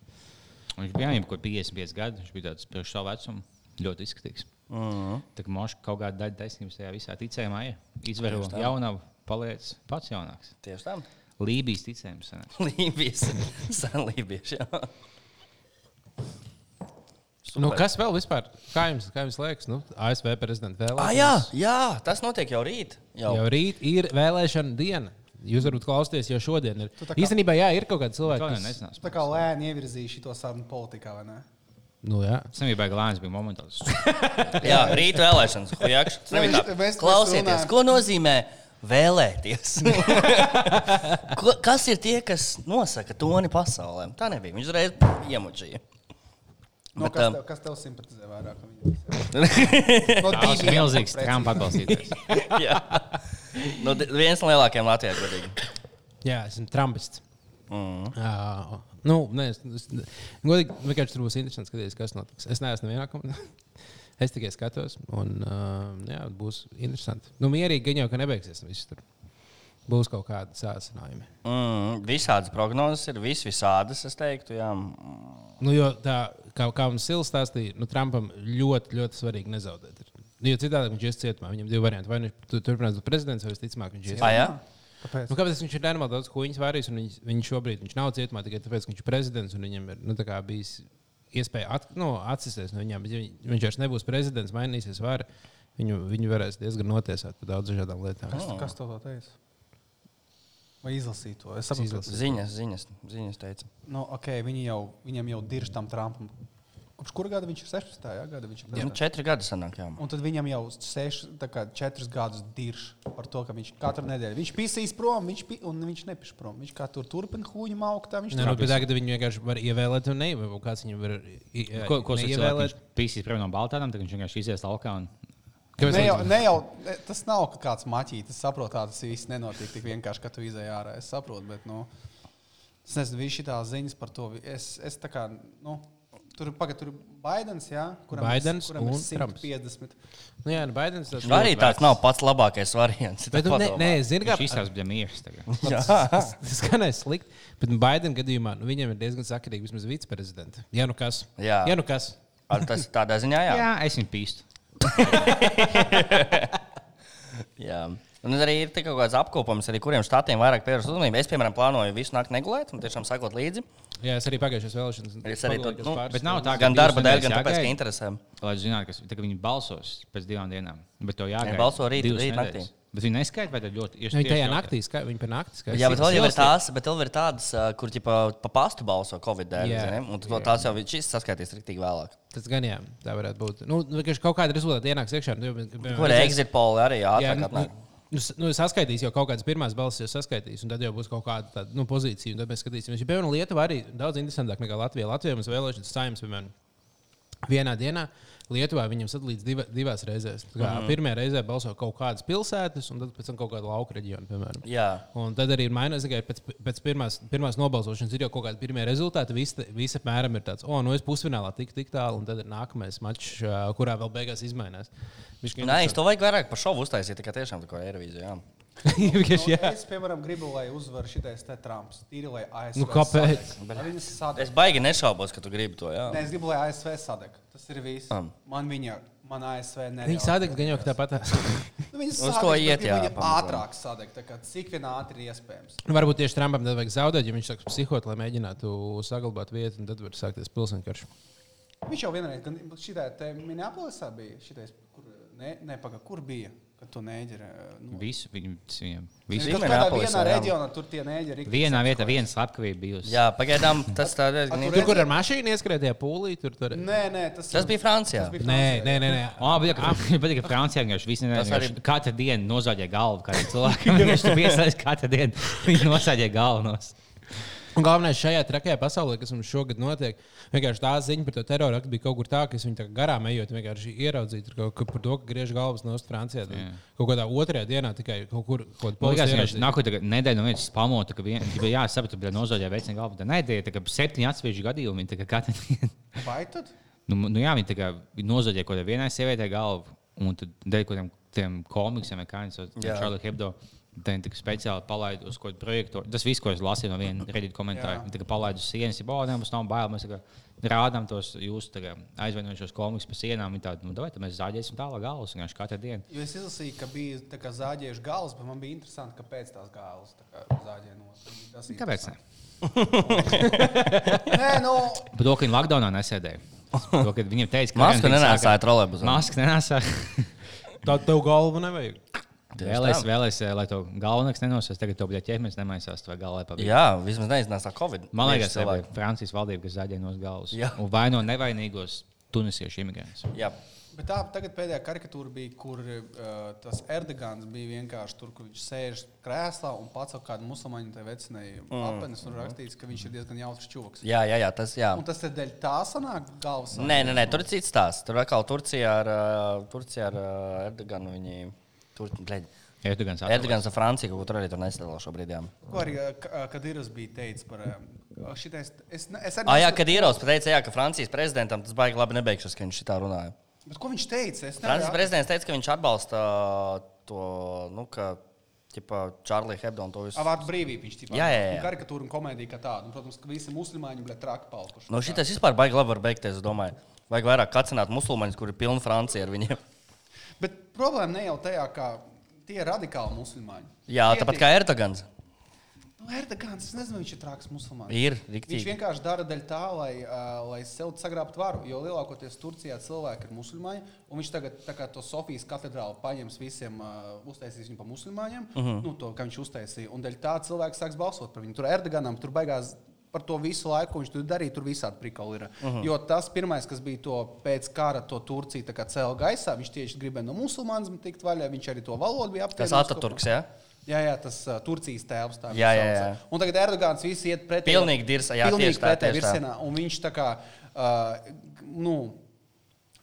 Viņš bija jau kaut kāds 55 gadi, viņš bija tāds priekš savu vecumu, ļoti izskatīgs. Mm. Tā kā mošs kaut kāda daļa taisnības tajā visā ticējumā ir. Izvēro jaunu, paliec pats jaunāks. Tieši tā. Lībijas ticējums. sanāk. Lībijas. Sen lībieši. jā. Nu, kas vēl vispār? Kā jums, kā jums liekas, nu, ASV prezidenta vēlēšanas? Ah, jā, jā, tas notiek jau rīt. Jau. Jau rīt ir vēlēšana diena. Jūs varat klausīties jau šodien. Ir. Kā... Īstenībā, jā, ir kaut kāda Tā cilvēka. Nu, jau Kas... nezinās. Tā kā lēni ievirzīja šo sarunu politikā, vai ne? Nu, jā. Samībā glāns bija momentāls. Jā, rīta vēlēšanas. Hujakš, tas nebija Mēs- tā. mēs Klausieties, runājam. ko nozīmē vēlēties? ko, kas ir tie, kas nosaka toni pasaulē? Tā nebija. Viņš uzreiz iemuģīja. Bet, No, Nu, kas, um, tev, kas tev simpatizē vairāk? no viņiem visiem? No Tas tīmiem, bija milzīgs precīzi. Trumpa atbalstītājs. jā. Nu, d- viens no lielākajiem Latvijā godīgi. jā, esmu Trumpists. Mm. Uh, nu, nē, es, es, godīgi, vienkārši tur būs interesanti skatīties, kas notiks. Es neesmu vienā komandā. Es tikai skatos, un uh, jā, būs interesanti. Nu, mierīgi, gan jau, ka nebeigsies viss tur. Būs kaut kādi sācinājumi. Mm, visādas prognozes ir vis, visādas, es teiktu. Jā. Mm. Nu, jo tā, kā, kā mums Silvs stāstīja, nu, Trumpam ļoti, ļoti svarīgi nezaudēt. ir. Nu, jo citādi viņš ies cietumā, viņam ir divi varianti. Vai nu viņš tu- turpinās būt prezidents, vai visticamāk viņš ies Ah, jā? Nu, kāpēc viņš ir nenormāli daudz ko viņš vērīs? Viņš, viņš šobrīd viņš nav cietumā tikai tāpēc, ka viņš ir prezidents un viņam ir nu, tā kā bijis iespēja at, nu, atsisties no viņiem. Bet ja viņ- Viņš vairs nebūs prezidents, mainīsies vara. Viņu, viņu varēs diezgan notiesāt par daudzām dažādām lietām. Kas, kas tev to teica? Vai izlasīju to? Es saprotu, izlasīju. Ziņas, ziņas, ziņas teica. Nu, okay, viņi jau, viņam jau dirž tam Trumpam. Kopš kura gada viņš ir 16. Jā, gada viņš ir Jā. Nu, prezidents? četri gadi sanāk, jā. Un tad viņam jau 4 gadus dirž par to, ka viņš katru nedēļu viņš pisīs prom, viņš, pi, un viņš nepiš prom. Viņš kā tur turpina huņu maukt. tā Viņš Nē, nu, bet tagad viņi vienkārši var ievēlēt, un neievēlēt, kāds viņam var Ko, ko ievēlēt. sasniedz? Pīsīs prom no Baltānām, tad viņš vienkārši izies laukā. Un... Kāpēc Ne jau, viņš- ne jau, ne, tas nav ka kāds maķis. Es saprotu, kā tas viss nenotiek tik vienkārši, ka tu izēj ārā. Es saprotu, bet nu, es nezinu, visas šīs ziņas par to. vi- Es, es tā kā, nu, tur, paga, tur ir Baidens, jā, kuram, Baidens ir, kuram ir un 150. Nu, jā, nu, Baidens tas Arī tāds nav pats labākais variants. Bet, nu, nē, nē, zini, kā Viņš izsās bija mīļš. tagad. tas skanēs slikti. Bet Baidena gadījumā nu, viņam ir diezgan sakarīgi vismaz viceprezidents. Jā, nu kas? Jā. jā nu kas? Ar tas tādā ziņā, jā. Jā, es viņu pīstu. jā. Un arī ir tik kaut kāds apkopums, arī kuriem štatiem vairāk pievērst uzmanību. Es, piemēram, plānoju visu nakti negulēt un tiešām sakot līdzi. Jā, es arī pagājušajās vēlēšanās. Es arī to- pagalīgos nu, pāris bet nav tā, stundas. ka Gan divas darba dēļ, nedēļas gan tāpēc, jāgaida. ka interesē. Lai zinātu, kas ka viņi balsos pēc divām dienām. Bet to jāgaida. Viņi balso rīt- divas rīt nedēļas. naktī. Bet viņi neskaita, vai tad ļoti ir. Nu, Viņa tajā naktī skai, viņa pa naktī skaitā. Jā, bet vēl jau ir tās, bet vēl ir tādas, ā, kur ķipa, pa pastu balso Covid dēļ. Jā. zini, Un tad vēl tās jau vi- šis saskaitīs rīktīgi vēlāk. Tas gan jā, tā varētu būt. Nu, nu, vienkārši kaut kāda rezultāta ienāks iekšā. Nu, piemēram, Kur redzēs- exit poli arī Jā, ātrāk nu, apmēram. nu, s- nu, saskaitīs jau kaut kādas pirmās balsis, jau saskaitīs, un tad jau būs kaut kāda tāda, nu, pozīcija. un Tad mēs skatīsimies, kāda ir Lietuva. Arī daudz interesantāk nekā Latvija. Latvijā mums vēlēšanas saimnes, piemēram, vienā dienā. Lietuvā viņam sadalīts diva, divās reizēs. Tā Mhm. Kā, mm. Pirmā reizē balso kaut kādas pilsētas, un tad pēc tam kaut kāda lauka reģiona, piemēram. Jā. Un tad arī ir mainās, ka pēc, pēc pirmās, pirmās nobalsošanas ir jau kaut kādi pirmie rezultāti. Visi, visi apmēram ir tāds, o, nu es pusfinālā tik, tik tālu, un tad ir nākamais mačs, ā, kurā vēl beigās izmainās. Viņš Nē, es to vajag vairāk par šovu uztaisīt, tā kā tiešām tā kā Eirovīzija. vienkārši Nu, jā. es, piemēram, gribu, lai uzvar šitais te Trumps. Tīri, lai ASV. Nu, kāpēc? sadeg. Lai Viņas sadeg. Es baigi nešaubos, ka tu gribi to. Jā. Nē, es gribu, lai ASV sadeg. Tas ir viss. Am. Man viņa, man ASV nereāli. Viņa sādēks gan jau ka tāpat. Nu, viņas Uz sadeg, to bet iet, gribu jā, viņa pamazām. Ātrāk sadeg, tā kā cik vien ātri ir iespējams. Nu, varbūt tieši Trumpam tad vajag zaudēt, ja viņš sāks psihot, lai mēģinātu saglabāt vietu, un tad var sākties pilsēņkarš. Viņš jau vienreiz, kad šitā te Minneapolisā bija, šitais, kur, ne, ne, paga, kur bija, kad to nēģeri. Nu, Visu viņu. viņiem- Viņš Visu. Zini, kaut kādā Minneapolisā, vienā jā. reģionā tur tie nēģeri. rikti Vienā vietā sakojas. viena slepkavība bijusi. jā, pagaidām tas tā diezgan Atturēt- Tur, kur ar mašīnu ieskrēja tajā pūlī, tur tur ir. Nē, nē, tas, Tas bija Francijā. Tas bija Nē, nē, nē. nē. O, bija tā, ka patīk, ka Francijā vienkārši viss Tas vienkārši arī- katru dienu nozāģēja galvu. Kā cilvēkam viņš tur piesaistās katru dienu, viņš nozāģēja galvenos. Un galvenais šajā trakajā pasaulē, kas mums šogad notiek, vienkārši tā ziņa par to teroru aktu bija kaut kur tā, ka es viņu tā kā garām ejot, vienkārši ieraudzīju tur kaut ko par to, ka griež galvas nost Francijā. Tad Jā. Kaut kādā otrajā dienā tikai kaut kur kaut Man policija liekas, ka viņš ieraudzīja. nākotnē nedēļu no vienas pamota, ka viņš bija jāsaprot, ka nozāģēja veicina galvu. Tā nedēļa, tā kā septiņi atsevišķi gadījumi, tā kā katru dienu. Vai tad? Nu, nu jā, viņi tā kā nozāģēja kaut kādai vienai sievietei galvu, un tad dēļ kaut kādiem tiem komiksiem, kā viņš to Jā. Čārlis Hebdo. Tā ir tā kā speciāli palaida uz kaut kādu projektu. Tas viss, ko es lasīju no viena redīta komentāra, Jā. ir palaidis uz sienas. Jā, oh, mums nav bail. Mēs tā kā rādām tos jūsu tā kā aizvainojušos komikus pa sienām. Viņi tādi, nu, vai mēs zāģēsim tālāk galvas vienkārši katru dienu. Jo es izlasīju, ka bija tā kā zāģējuši galvas, bet man bija interesanti, kāpēc tās galvas tā kā zāģēja no savas. Nu, Kāpēc? Ne? Nē, nu, Par to, ka viņi lockdownā nesēdēja. Par To, ka viņiem teica, ka Masku karantīnas nenāsāja sākā- trolēļus. Masku nenāsāja. Tā tev galvu nevajag. Tieši Vēlēs, tā. vēlēs, eh, lai to galvenais nenosās. Tagad to bija ķēmenis, nemainās to vai galvā pavisam. Jā, vismaz neiznāca tā Covid. Man liekas, Tieši tā cilvēki. bija Francijas valdība, kas zaļēja no galvas. Jā. Un vaino nevainīgos tunisiešu imigrantus. Jā, Bet tā tagad pēdējā karikatūra bija, kur uh, tas Erdogans bija vienkārši tur, kur viņš sēž krēslā un pats ar kādu musulmaņu te vecinēja mm. apenes un rakstīts, ka viņš ir diezgan jautrs čūks. jā, jā, jā tas jā. Un tas ir dēļ tā sanāk galvas. Nē, nē, nē, tur ir cits stāsts. Tur atkal Turcija ar, ā, Turcija ar ā, Erdoganu. Viņi, tur, blēd, Erdogans atvēlēs. Erdogans ar Franciju, ko tur arī tur nesadalās šobrīd. Jā, Ko arī ā, K- ā, Kadirovs bija teicis par eh, ā, šitais. Es, ne- es ah, arī, jā kad Ieros teica, jā, ka Francijas prezidentam tas baigi labi nebeigšas, ka viņš šitā runāja. bet ko viņš teica? Es Francijas nevaru- prezidents teica, ka viņš atbalsta ā, to, nu, ka, tipā, Čārlī Hebdonu to visu. Ā, Vārdu brīvība viņš tipā. Jā, jā, jā. Un Karikatūra un komēdija kā tāda. Un, protams, ka visi musulmaņi bija traki palikuši. Nu, šitais vispār baigi labi var beigties, es domāju. Vajag vairāk kacināt musulmaņus, kuri ir pilni Francija ar viņiem. Bet problēma ne jau tajā, ka tie ir radikāli musulmaņi. Jā, Tie tāpat tie- kā Erdogans. Nu, Erdogans, es nezinu, viņš ir traks musulmanis. Ir, Viņš riktīgi. vienkārši dara daļu tā, lai, uh, lai sev sagrābtu varu. Jo lielākoties Turcijā cilvēki ir musulmaņi, un viņš tagad tā kā to Sofijas katedrālu paņems visiem, uh, uztaisīs viņu par musulmaņiem, uh Mhm. -huh. nu, to, kā viņš uztaisīja. Un daļai tā cilvēki sāks balsot par viņu. Tur Erdoganam tur beigās. Par to visu laiku, ko viņš tur darīja, tur visādi prikali ir. Uh Mhm. -huh. Jo tas pirmais, kas bija to pēc kara, to Turcija tā kā cēlīja gaisā, viņš tieši gribēja no musulmaņiem tikt vaļā. Viņš arī to valodu bija aptvērts. Tas Ataturks, jā? Jā, jā, tas uh, Turcijas tēvs. tā Jā, viņš jā, sauca. jā. Un tagad Erdogans viss iet pretī. Pilnīgi dirsa, jā, pilnīgi tieši tā, pretējā tieši tā. virsienā. Un viņš tā kā, uh, nu,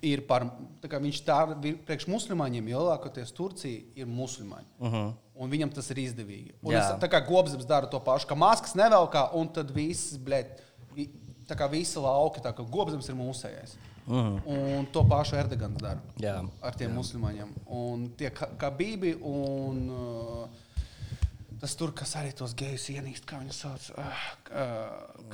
ir par, tā kā viņš tā ir priekš musulmaņiem, jo lielākoties Turcija ir musulmaņi. Uh -huh. Un viņam tas ir izdevīgi. Un Jā. es, tā kā gobsams dara to pašu, ka maskas nevelkā, un tad viss, blēt, vi- tā kā visa lauka, tā kā gobsams ir mūsējais. Uh -huh. Un to pašu Erdogans dara Mhm. Jā. ar tiem musulmaņiem. Un tie ka- kabībi un uh, tas tur, kas arī tos gejus ienīst, kā viņu sauc. Uh, uh,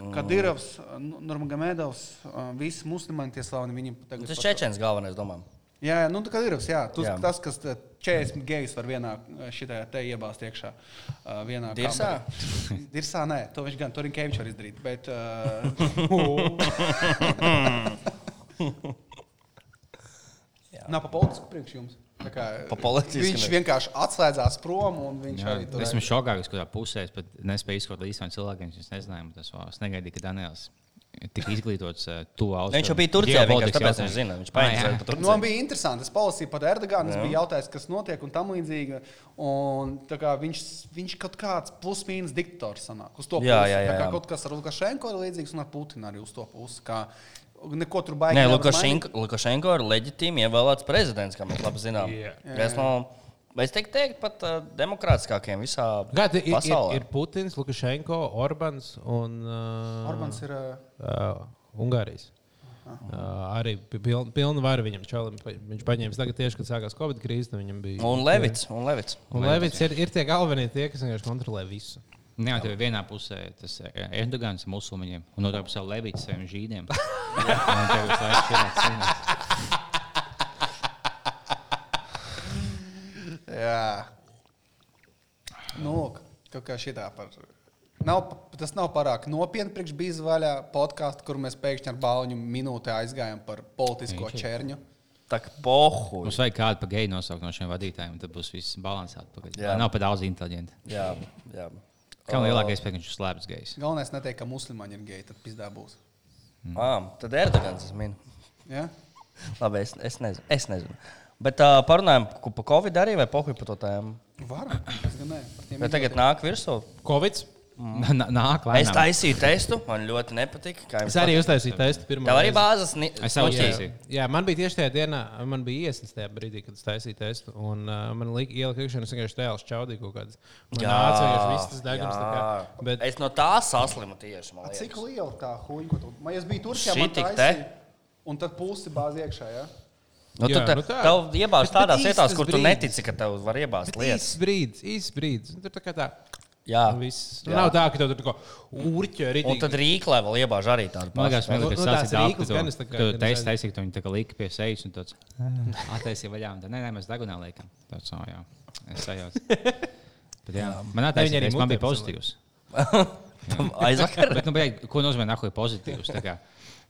Mm. Kadirovs, uh, Nu- Nurmagomedovs, uh, visi musulmaņi tie slaveni viņam tagad. Mhm. Tas pat- Čečens galvenais, domāju. Jā, jā, nu tā Kadirovs, jā, tas, Jā. jā. tas kas te 40 gejus var vienā uh, šitajā te iebāzt iekšā. uh, Vienā Dirsā? kamerā. Dirsā, nē, to viņš gan tur ir Keivičs var izdarīt, bet. Uh, Jā. Nav pa politisku priekš jums. Tā Kā, Pa politisku viņš ne. vienkārši atslēdzās prom un viņš jā, Jā, arī tur Esmu šokā, ka kurā pusē es pat nespēju izskaut līdz īstenam cilvēkam. Es nezināju, tas vēl. Es negaidīju, ka Daniels ir tik izglītots eh, to austrumu. Ne, viņš jau bija Turcijā, vienkārši tāpēc viņš zina. Ah, Viņš paņēma to Nu, man Turciju. bija interesanti. Es palasīju par Erdoganu, tas bija jautājums, kas notiek un tam līdzīgi. Un, tā kā, viņš, viņš kaut kāds plus-mínus diktators sanāk uz to pusi. Jā, jā, jā, tā kā jā. kaut kas ar Lukašenko ir līdzīgs un ar Putinu arī uz to pusi. Kā, neko tur baigi. Nē, nevar mainīt. Lukašenko, Lukašenko ir leģitīmi ievēlēts prezidents, kā mēs labi zinām. Jā. Es, no, es teiktu, teikt, pat uh, demokrātiskākiem visā Gadi ir, ir, pasaulē. ir Putins, Lukašenko, Orbāns un uh, Orbāns ir. ā, uh, Ungārijas. Uh, arī pi- piln- pilna vara viņam čalam. pa- Viņš paņēma tagad tieši, kad sākās Covid krīze. tad Viņam bija. Un Levits. Un Levits. Un Levits ir, ir tie galvenie tie, kas vienkārši kontrolē visu. Nē, tev ir vienā pusē tas eh, Erdogans ar musulmaņiem, un otrā pusē Levits ar žīdiem. Un tev visu laiku šajā cīnās. Jā. Nu, lūk, kaut kā šitā par. Nav, pa- tas nav pārāk nopietni priekš bija vaļā podkāstu, kur mēs pēkšņi ar bāliņu minūtē aizgājām par politisko čērņu. Tā kā pohu. Mums vajag kādu pa geju nosaukt no šiem vadītājiem, tad būs viss balansēts. Jā. Nav pa daudz inteliģenti. Jā, jā. Kā lielākais pēkšņi ir slēpts gejs? Galvenais netiek, ka musulmaņi ir geji, tad pizdā būs. Ah, tad Erdogans es minu. Ja? Labi, es, es nezinu. Es nezinu. Bet uh, parunājam, ko par Covid arī vai pohu par to tēmu. Var, es gan ne. par tiem Bet tagad nāk virsū. Covid. Nā- Mm. Nāk, lai Es taisīju testu, man ļoti nepatika. kā jums Es arī uztaisīju testu pirmo. Tev arī reizi. bāzes. Ni... Es jau Noķēri? uztaisīju. Jā, man bija tieši tajā dienā, man bija iesaistīts tajā brīdī, kad es taisīju testu. Un uh, man lika ielika iekšā, un es vienkārši tēlu čaudīju kaut kādas. Man nāca vienkārši viss tas degums. tā jā. kā, Bet Es no tā saslimu tieši. man A, liekas. Cik liela tā huņa, ko tu. Man es biju Turcijā, man Šitik te? taisīja, un tad pusi bāz iekšā, ja? Nu, Jā, tu te, nu nu tā. tev iebāz Bet- bet tādās īsts vietās, tas kur tu brīdis. netici, ka tev var iebāzt lietas. īsts brīdis, īsts brīdis. Un Tur tā kā tā. Jā, Viss. Nu, Jā. Nav tā, ka tev tur kaut kā urķē arī. un tad rīklē vēl iebāž arī tādu Man liekas, pašu. man Nu, liekas, nu, tas tās ir tāds rīkles gan es mākslinieks, tā kā kas gan tevis es Ah. taisīja, un tā kā lika pie sejas, un tāds - attaisīja vaļā, un tā nē, nē, mēs degunā liekam. Tāds, oh, jā, es sajaucu. Bet, jā, man Viņi attaisīja, arī teiks, man mutē bija pozitīvs. Aizvakar. Bet, nu, beig, ko nozīmē nahuļ pozitīvs? Tā kā,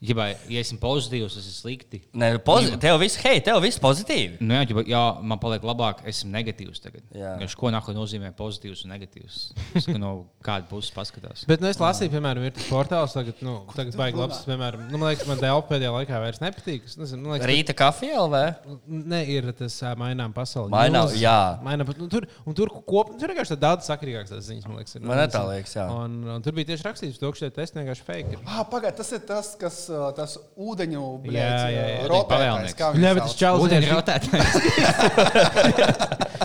Ja, vai- ja esmu pozitīvs, tas ir slikti. Nē, pozitīvi. Tev viss, hei, tev viss pozitīvi. Nu, jā, ģipa, jā, man paliek labāk, esmu negatīvs tagad. Jā. Vienkārši, Ko nākotnē nozīmē pozitīvs un negatīvs? Es saku, no kāda puses paskatās? Bet nu, es lasīju, piemēram, ir tas portāls, tagad, nu, tagad baigi labs. Piemēram, nu, man liekas, man DLP pēdējā laikā vairs nepatīk. Es nezinu, man liekas, Rīta kafija LV. Nu, Ne, ir tas ā, mainām pasauli. Mainām, News, jā. Mainām, pa- nu, tur, un tur kop, tur vienkārši tā daudz sakrīgākas tās ziņas, man liekas. ir. Man arī tā liekas, jā. Un, un tur bija tieši rakstīts, ka šie testi vienkārši fake. ir. Ah, Pagaidiet, tas ir tas, kas uh, tas ūdeņu Jā, jā, jā. rotētājs, kā Jā, viņš bet tas sauc. čels Ūdeņi ir. rautētājs.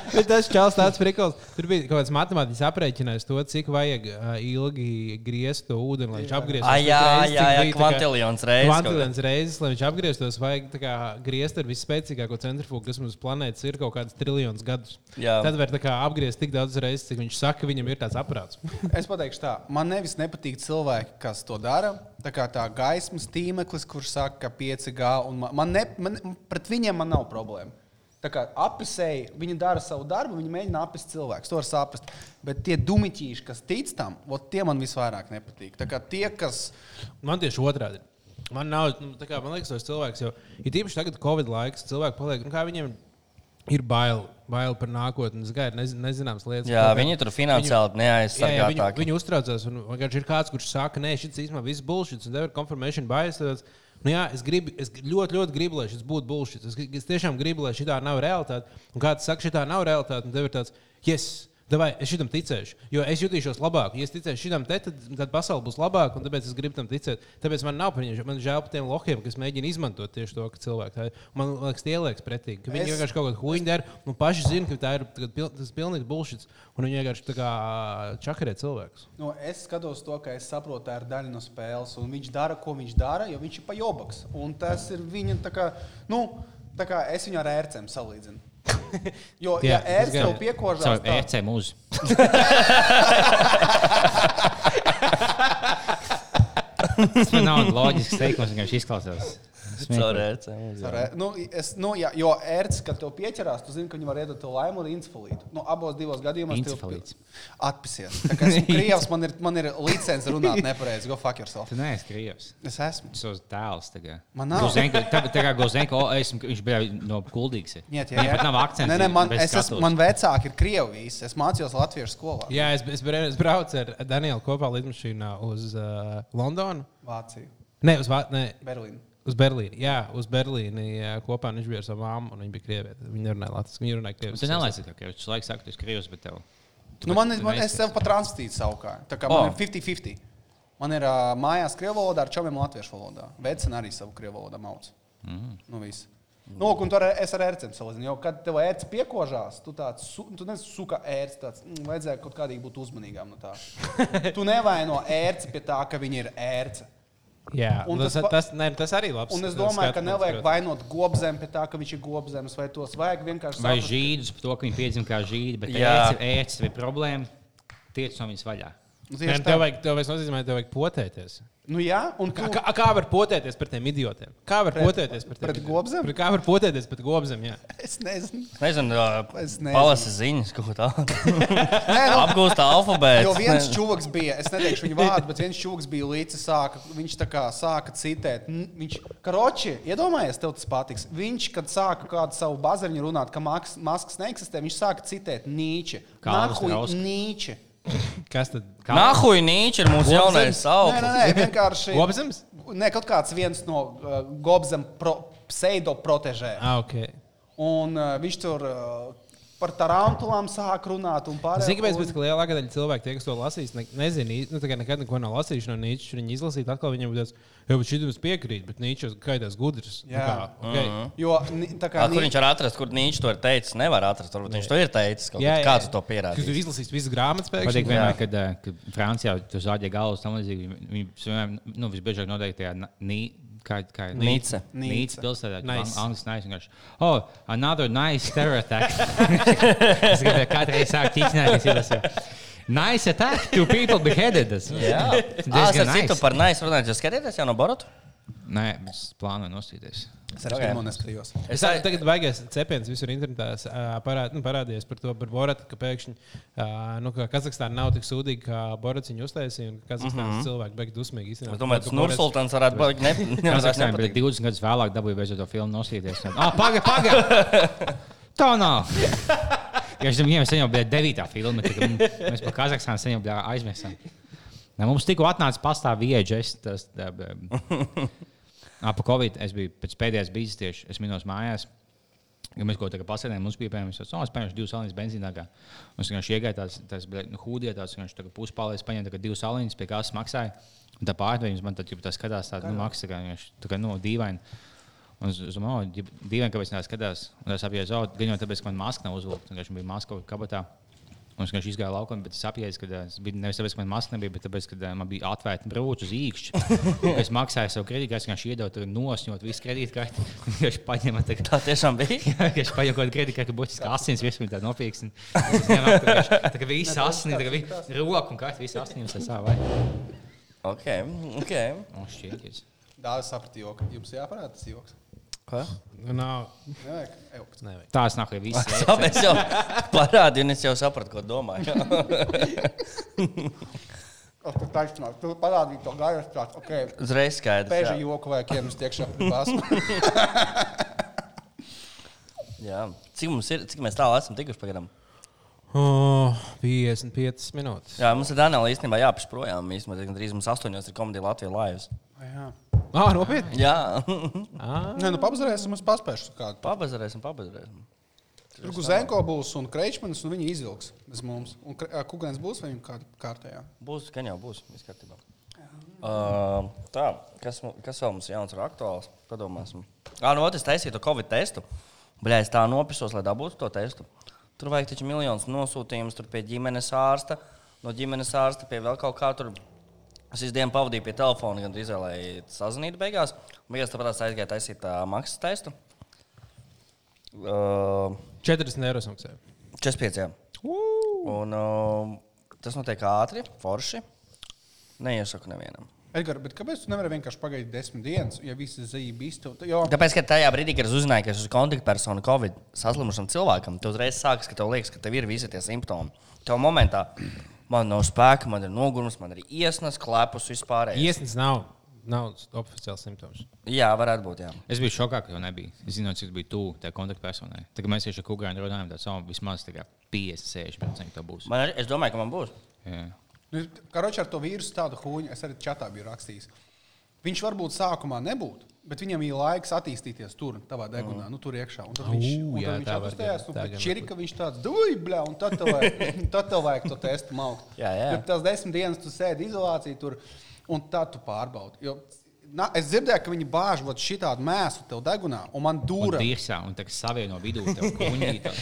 Bet tas čels tāds prikals. Tur bija kaut kāds matemātiķis aprēķinājis to, cik vajag ā, ilgi griezt to ūdeni, lai viņš apgrieztos. Ai, Cik jā, reizes, jā, cik jā, bija, tā kā- kvantiljons reizes kaut kā. Kvantiljons reizes, lai viņš apgrieztos, vajag tā kā griezt ar visspēcīgāko centrifugu, kas mums planētas ir kaut kāds triljonus gadus. Jā. Tad var tā kā apgriezt tik daudz reizes, cik viņš saka, viņam ir tāds aprāts. Es pateikšu, tā, man nevis nepatīk cilvēki, kas to dara. Tā kā tā gaismas tīmeklis, kurš saka, ka 5G, un man, man, ne, man pret viņiem man nav problēma. Tā kā apelsēji, viņi dara savu darbu, viņi mēģina apelsīt cilvēku. To var saprast. Bet tie dumiķīši, kas tic tam, vot tie man visvairāk nepatīk. Tā kā tie, kas. Man tieši otrādi. Man nav, nu, tā kā man liekas, tas cilvēks jau ir īpaši tagad, kad ir Covid laiks. Cilvēki paliek, nu, kā viņiem ir bail, bail par nākotni, zgai, nez, nezināmas lietas. Jā, Kaut kā- viņi tur finansiāli Jā, jā, viņi, neaizsargātāki. viņi uztraucās. un vienkārši Ir kāds, kurš saka, nē, šis īstenībā viss bullshit, un tev ir confirmation bias. Tāds, nu, jā, es, grib, es gr- ļoti, ļoti gribu, lai šis būtu bullshit. Es, gri- es tiešām gribu, lai šī tā nav realitāte. Un kāds saka, šī tā nav realitāte, un tev ir tāds, yes, davai, es šitam ticēšu, jo es jutīšos labāk. Ja es ticēšu šitam te, tad, tad pasaule būs labāka, un tāpēc es gribu tam ticēt. Tāpēc man nav pieņemts, man žēl par tiem lohiem, kas mēģina izmantot tieši to, ka cilvēki tā ir. Man liekas, tie liekas pretīgi, ka viņi Es- vienkārši vienkārši kaut kāda huīņa dara, un paši zina, ka tā ir tagad pil- tas pilnīgs bullshit, un viņi vienkārši tā kā čakarē cilvēkus. Nu, es skatos to, ka es saprotu, tā ir daļa no spēles. un Viņš dara, ko viņš dara, jo viņš ir pajobaks. Un Tas ir viņa. tā Kā, nu, tā kā es viņu ar ērcēm salīdzinu. Jo, Jā, ja es ērts gan- tev piekožās, Savu tad EC mūzi. Tas man nav loģisks teikums, viņš izklausās. Caur smieklīgi. ECM, jā. Ar, e- Nu, es, nu, jā, jo ērts, kad tev pieķerās, tu zini, ka viņi var iedot tev laimi un insulītu. Nu, abos divos gadījumos Encefalīts. atpisies. Tā kā esmu krievs, man ir, man ir licence runāt nepareizi. Go fuck yourself. Tu neesi krievs. Es esmu. Savs dēls tagad. Man nav. Gozenko, tā, tā kā Gozenko, o, esmu, viņš bija no Kuldīgas. Viņam pat nav akcents. Nē, nē, man, bet es esmu, skatos. man vecāki ir krievi visi. Es mācījos latviešu skolā. Jā, es, es, braucu- es braucu ar Danielu kopā lidmašīnā uz uh, Londonu. Vācija, Nē, uz, Vā- nē, Berlīna. uz Berlīni. Jā, uz Berlīni jā, kopā un viņš bija ar savu māmu, un viņa bija krieviete. Viņa nerunāja latviešu, viņa runāja krieviski. Tu nelaisi to krievis. Tu laiku saki, tu esi krievs, bet tev. Nu, man, ir- tu man, neesi es sev pat transkrītu savukārt. Tā O. kā man ir 50-50. Man ir uh, mājās krievu valodā, ar čomiem latviešu valodā. Vecina arī savu krievu valodu mauc. Mm. Nu, viss. Nu, lūk, un tur es ar ērcēm salīdzinu. Jo, kad tev ērts piekožās, tu tāds, su, tu nezini, suka ērts, tāds, mm, vajadzēja kaut kādīgi būt uzmanīgam no tā. tu nevaino ērci pie tā, ka viņi ir ērci. Jā, Un un tas, tas pa- tas, nē, tas arī labs. Un es domāju, ka skatījums, nevajag protams. vainot gobzem pie tā, ka viņš ir gobzems, vai tos vajag vienkārši Vai saprast, žīdus par to, ka viņi piedzima kā žīdi, bet E Jā. ēcis vai problēma, tiec no viņas vaļā. Nu, Nē, tieši Tev tā. vajag, tev vajag, nozīmē, tev vajag potēties. Nu, jā, un tu, Kā, kā, kā var potēties par tiem idiotiem? Kā var Pret- pret, potēties par tiem pret idiotiem? gobzem? Pret- Kā var potēties par gobzem? Jā. es nezinu. Es nezinu, Es uh, nezinu. palasi ziņas kaut kā tādu. Nē, nu, Apgūst alfabētu. Jo viens čūlis bija, es neteikšu viņa vārdu, bet viens čūlis bija līdzi. Sāka, viņš tā kā sāka citēt. N- Viņš, karoči, iedomājies, tev tas patiks. Viņš, kad sāka kādu savu bazariņu runāt, ka maks- maskas neeksistē, viņš sāka citēt Nīči. Kalvis Rausks. Nīči. Kas tad? Nahuj, nīči ir mūsu jaunais Nē, augsts. nē, nē, vienkārši. Gobzems? Nē, kaut kāds viens no uh, gobzem pro, pseido protežē. Ah, okay. Un uh, viņš tur uh, par tarantulām sāk runāt un pārējām. Zinu, kāpēc, bet ka lielākā daļa cilvēku, tie, kas to lasīs, ne, nezina, īsti- nu, tā kā nekad neko nav lasījuši no Nīčes. Viņi izlasīs, atkal viņam būs tāds, jau šī jums piekrīt, bet Nīčes kaitās gudrs. Nu Jā. kā, okay. uh -huh. Jo, ni- tā kā Kā, kur viņš var atrast, kur viņš to ir teicis? Nevar atrast, varbūt viņš to ir teicis. kaut kad. Kā tu to Kad tu pierādīji? izlasīsi visas grāmatas, Patīk pēkšņi. vienmēr, kad, eh, kad Francijā tur zāģē galvas tam līdzīgi. Viņi- Viņi vienmēr, nu, visbiežāk noteikti tajā na- nī- kā- kā- Nīce. Nīce. Nīca pilsētā. Nice. Nice. Anglis nice vienkārši. Oh, another nice terror attack. es gribēju katru reizi sākt tīknēties. jo tas ir Nice attack, two people beheaded us. Jā, It's tas diezgan ir citu par naisu runājot. Jūs skatieties jau no Borota? Nē, es plānoju nostīties. Es arī Pagaid. pirmo neskatījos. Es domāju, ka tagad baigās cepiens visur internetā. Es, ā, Parād, nu, parādījās par to, par Boratu, ka pēkšņi ā, nu, ka Kazahstāna nav tik sūdīga, kā Borats viņu uztaisīja. un ka Kazahstānas mm -hmm. cilvēki beigas dusmīgi. Es domāju, tas Nursultāns varētu būt ne, Kazahstānā nepatīk. bija 20 gadus vēlāk, dabūju beidzot to filmu nosīties. Ah, pagaidi, pagaidi! Tā nav! Ja es domāju, viņiem jau bija 9. filma, tad mēs par Kazahstānu sen jau bija aizmirsām. Ne, Mums tikko atnāca pastāv viedžes. Ap Ah, Covid es biju pēc pēdējās bīzes tieši, es minos mājās. Ja mēs kaut kādā pasēdējām, mums bija piemēram, oh, es paņēmu divas salīņas benzīnā. kā." Un es vienkārši iegāju tās, tās bļa, nu, hūdietās, un viņš tā kā puspālēs paņēma tā kā divas salīņas, pie kādas maksāja. Un tā pārtvērums man tad jau tā skatās, tā nu, maksā, kā viņš tā kā no dīvaini. Un es es domāju, ka dīvaini, kāpēc viņš tā skatās. Un es apjēdzu, oh, gan jau tāpēc, ka man maska nav uzvilkta, un viņš bija maska kaut kādā kabatā. Un es vienkārši izgāju laukā, bet es saprotu, ka tas bija nevis tāpēc, ka man maska nebija, bet tāpēc, ka ā, man bija atvērta brūce uz īkšķa. Es maksāju savu kredītkarti, es vienkārši iedodu tur nosņot visu kredītkarti. Viņš paņēma tā Tā tiešām bija. Viņš paņēma kaut kādu kredītkarti, būtiski asins, visu viņu tā nopietni. Tā kā viss asins, tā kā viss roka un kārtas, viss asins ar savu vai. Ok, ok. Un šķiekies. Dāvis saprata joku. Jums jāparāda tas joks. Ko? Nu, Nav, Nevajag. Ejuks. nevajag. Tā es nāku, ja viss ir. Labi, es jau parādīju, un es jau sapratu, ko domāju. O, Tu taisnāk, tu parādīji to gaišu, tāds ok. Uzreiz skaidrs. Pēža jā. joku vajag iemest iekšā privāsumā. Jā. Cik mums ir, cik mēs tālu esam tikuši pagaidām? O, 55 Oh, minūtes. Jā, mums ir Daniela īstenībā jāpaš projām. Īstenībā diezgan drīz mums astoņos ir komēdija Latvijas laivas. Ah, nopietni! Jā, Ah, Nē, nu pabazarēsim, es paspēšu kādu. pabazarēsim, pabazarēsim. Tur Guzenko būs un Kreičmanis, un viņi izvilks bez mums. Un Kre- ā, Kugans būs vai viņam kāda kārtējā? Būs, ka jau būs. Viss kārtībā. Uh, tā, kas, mu- kas vēl mums ir jauns un aktuāls? Padomāsim. Ah, nu, ot, es taisīju to Covid testu. Bļā, es tā nopisos, lai dabūtu to testu. Tur vajag taču miljonus nosūtījumus tur pie ģimenes ārsta, no ģimenes ārsta pie vēl kaut kā tur. Es visu dienu pavadīju pie telefona, gan drīz lai sazinātu beigās. Un Beigās tāpat aizgāju taisīt tā maksas testu. Uh, 40 eiro samaksāja. 45. jā. Un, um, tas notiek ātri, forši. Neiesaku nevienam. Edgars, bet kāpēc tu nevari vienkārši pagaidīt desmit dienas, ja visi zīmīgi bija? Jo Tāpēc, ka tajā brīdī, kad es uzzināju, ka es esmu kontaktpersona Covid saslimušam cilvēkam, tu uzreiz sākas, ka tev liekas, ka tev ir visi tie simptomi. Tev momentā man nav spēka, man ir nogurums, man ir iesnas, klepus vispār. Iesnas nav, nav oficiāls simptoms. Jā, varētu būt. Jā. Es biju šokā, ka jau nebija. Es zinu, cik bija tuvu tā kontaktpersonai. Tagad mēs tieši ar Kungānu runājam, tad savam vismaz tā kā 50-60% to būs. Man, arī- es domāju, ka man būs. Jā. Nu, Karoči ar to vīrusu tādu huņu, es arī čatā biju rakstījis. Viņš varbūt sākumā nebūtu, bet viņam bija laiks attīstīties tur, tavā degunā, mm. nu, tur iekšā. Un tad viņš, Ū, un tad jā, viņš tā var gan- attīstījās, un tā tad gan čirika viņš tāds dubļā, un tad tev vajag, tad tev vajag to testu maukt. Jā, jā. Jo tās desmit dienas tu sēdi izolācijā, tur, un tad tu pārbaudi. Jo, na, es dzirdēju, ka viņi bāž vot šitādu mēsu tev degunā, un man Un dūra. dirsā, un tā kā savieno vidū tev kuņītā.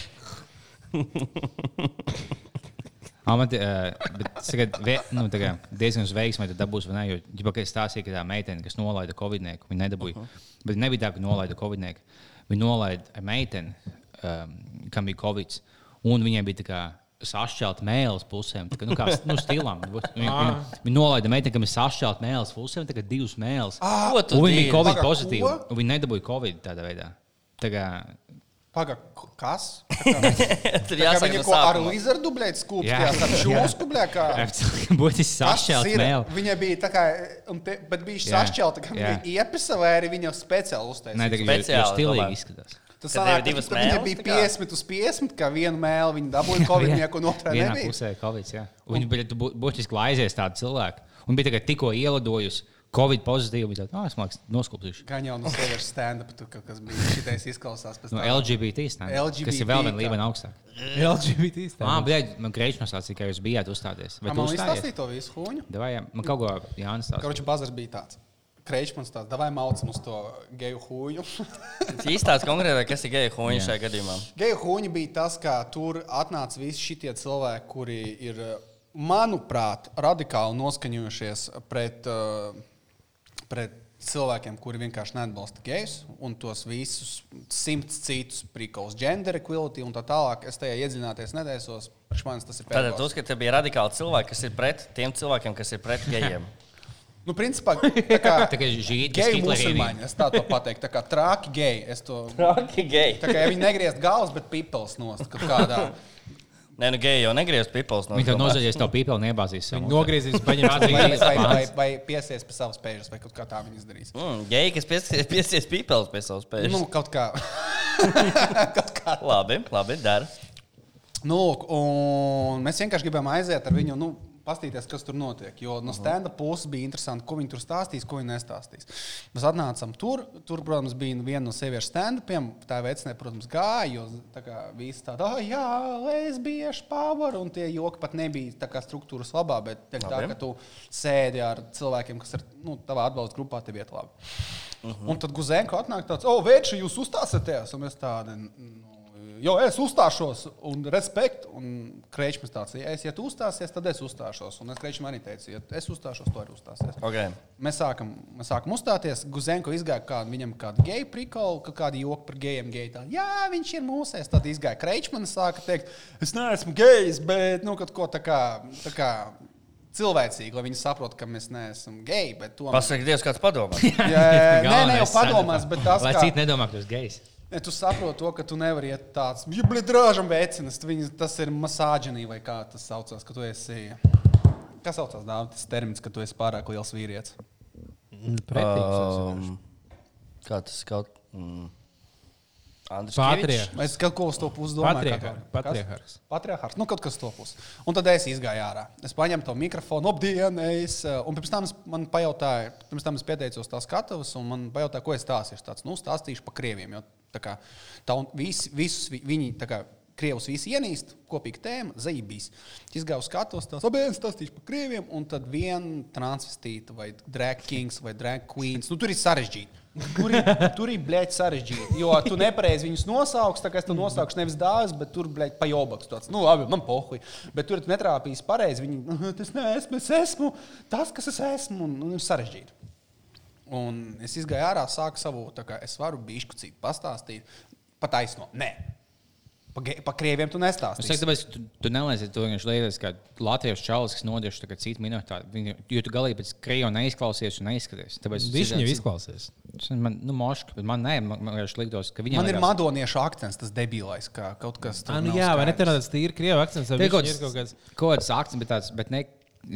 Man te, uh, bet tagad, vē, nu, tagad diezgan uz veiksmi, tad dabūs, vai ne? Jo, ja kā es stāstīju, ka tā meitene, kas nolaida covidnieku, viņa nedabūja. Uh -huh. Bet nebija tā, ka nolaida covidnieku. Viņa nolaida meiteni, um, kam bija covid, un viņai bija tā kā sašķelt mēlus pusēm. Tā Kā, nu, kā s- nu, stilam. Viņa, viņa, viņa nolaida meiteni, kam ir sašķelt mēlus pusēm, tagad divas mēlus. Ah, ko tu Un viņa bija dīri? covid Pagā, pozitīva. ko? un Viņa nedabūja covid tādā veidā. Tā kā, Pagaid, kas? Tā kā- Tur tā kā jāsaka, Viņi no ko ar sākuma. līzeru dublēt Jā. skūpstījās, ar šūnu skūpstījās. Būtiski Tas sašķelt ir- mēlu. Viņa bija tā kā, un te, bet bija šis Jā, sašķelta, ka viņa jā. bija iepisa vai arī viņa speciāli Nē, uztaisīja. tā jau Speciāli, domāju. stilīgi izskatās. Tas Kad sanāk, tev ir ka divas tad viņai mēles, bija tā kā? 50 uz 50, ka vienu mēlu viņa dabūja Covid-19 un otrā vienā nebija. pusē Covid. Jā. Viņa bija tu bū- būtiski laizies tādu cilvēku. Un bija tikai tikko ielidojusi Covid pozitīvu. Viņa tā, ah, es mākslinieks noskopīšu. Gan jau no sievietes stand-up, tu kaut kas bija šitais izklausās pēc No tam. LGBT stāvokļa. Kas LGBT, ir vēl viena tā. līmeni augstāk. LGBT Ah, stāvoklis. blēģi, man grēķis nosacīja, ka jūs bijāt uzstāties. Vai Kā tu man uzstājies? izstāstīja to visu huņu? Davai, jā, man kaut ko jānostāsta. Karoči, bazars bija tāds. Kreičmans tāds, davai maucam uz to geju huņu. Tas īstās konkrēti, kas ir geja huņa šajā gadījumā. Geju huņi bija tas, ka tur atnāca visi šie cilvēki, kuri ir, manuprāt, radikāli noskaņojušies pret, eh, pret cilvēkiem, kuri vienkārši neatbalsta gejus un tos visus simts citus prikals, gender equality un tā tālāk. Es tajā iedzināties nedēļos, priekš manis tas ir Tātad, pēdējais. uzskatīt, ka tie bija radikāli cilvēki, kas ir pret tiem cilvēkiem, kas ir pret gejiem. Nu, principā, tā kā, Tā kā žīdi, geju skitlerīni. musulmaņi, es tā to pateiktu, tā kā trāki geji. Es to, Traki geji. tā kā ja viņi negriezt galvas, bet pipels nost kaut kādā. Nē, nu geji jau negriezt pipels no Viņa tev nozaļies, tev pīpeli nebāzīs. Viņi nogriezīs, paņems Kāds Vai, ir vai, vai, pants? vai piesies pie savas pēdas, vai kaut kā tā viņi izdarīs. Mm, geji, kas pies- piesies pipels pie savas pēdas. Nu, Nu. kaut kā. kaut kā. Labi, labi, dara. Nu, un mēs vienkārši gribējām aiziet ar viņu, nu, paskatīties, kas tur notiek. Jo no stenda puses bija interesanti, ko viņi tur stāstīs, ko viņi nestāstīs. Mēs atnācām tur, tur, protams, bija viena no sieviešu standiem. Tā veicināja, protams, gāja, jo tā kā viss tāda, ah, jā, lesbiešu power, un tie joki pat nebija tā kā struktūras labā, bet tiek tā, Labi. ka tu sēdi ar cilvēkiem, kas ir, nu, tavā atbalsta grupā, tev iet labi. Uh -huh. Un tad Guzenko atnāk tāds, o, veči, jūs uzstāsieties, un mēs tādi. Nu, Jo es uzstāšos, un respektu, un krēķis tāds - ja es ja tu uzstāsies, tad es uzstāšos. Un es krēķim arī teicu, ja es uzstāšos, to arī uzstāsies. Okay. Mēs sākam, mēs sākam uzstāties. Guzenko izgāja kādu, viņam kādu geju prikolu, kaut kādu joku par gejiem. Geji tā, Jā, viņš ir mūsējis. Tad izgāja krēķis man un sāka teikt, es neesmu gejs, bet nu, kaut ko tā kā. Tā kā Cilvēcīgi, lai viņi saprotu, ka mēs neesam geji, bet tomēr. Pasaka, Dievs, kāds padomā. Jā, jā, jā. Nē, nē, jau padomās, bet tas, Lai kā- citi nedomā, ka tu esi gejs. Ne, tu saproti to, ka tu nevari iet tāds, ja blīd rāžam vecinas, viņas, tas ir masāģinī vai kā tas saucās, ka tu esi. Kas saucās dāvā, tas termins, ka tu esi pārāk liels vīrietis? Um, Uh, kā tas kaut kā. Mm. Andris Patriarchs. Kievičs? Es kaut ko uz to pusi domāju. kā Patriarhārs, kaut- patriarhārs. Kas? Patriarhārs. Nu, kaut kas to pusi. Un tad es izgāju ārā. Es paņēmu to mikrofonu, apdienu, es. eh, Un pirms tam es- man pajautāja, pirms tam es pieteicos tās skatuves, un man pajautāja, ko es stāstīšu. Tāds, nu, stāstīšu par krieviem. Jo tā kā tā un vis, visus vi- viņi, tā kā, krievus visi ienīst, kopīga tēma, zaibīs. Izgāju uz skatuves, tās abas stāstīšu par krieviem, un tad viena transvestīta vai drag kings vai drag queens. Nu, tur ir sarežģīti. Tur ir, tur ir blēķi sarežģīti. Jo tu nepareizi viņus nosauc, tā kā es to nosaucu nevis dāvis, bet tur blēķi pajobaks. Tāds, nu, labi, man pohuj. Bet tur tu netrāpīs pareizi. Viņi, tas neesmu, es esmu tas, kas es esmu. Un, un ir sarežģīti. Un es izgāju ārā, sāku savu, tā kā es varu bišķi citu pastāstīt. Pa taisno. Nē. Pa, ge- pa krieviem tu Es nestāstīsi. teiktu, tāpēc, ka tu, tu nelaizi to vienkārši liekas, kā latviešu čalis, kas nodež tā kā citu minoritāti. Viņu- Jo tu galīgi pēc krievu neizklausies un neizskaties. Tāpēc Viņš jau izklausās. Es- Man, nu, moška, bet man nē, man, man vienkārši liktos, ka viņam Man ir liekas- madoniešu akcents, tas debilais, kā kaut kas Ah, tur nu nav jā, vai ne? skaidrs. Tur ir tāds tīri krievu akcents. vai Tev viņš ir kaut kāds. kaut kāds akcents, bet tāds, bet ne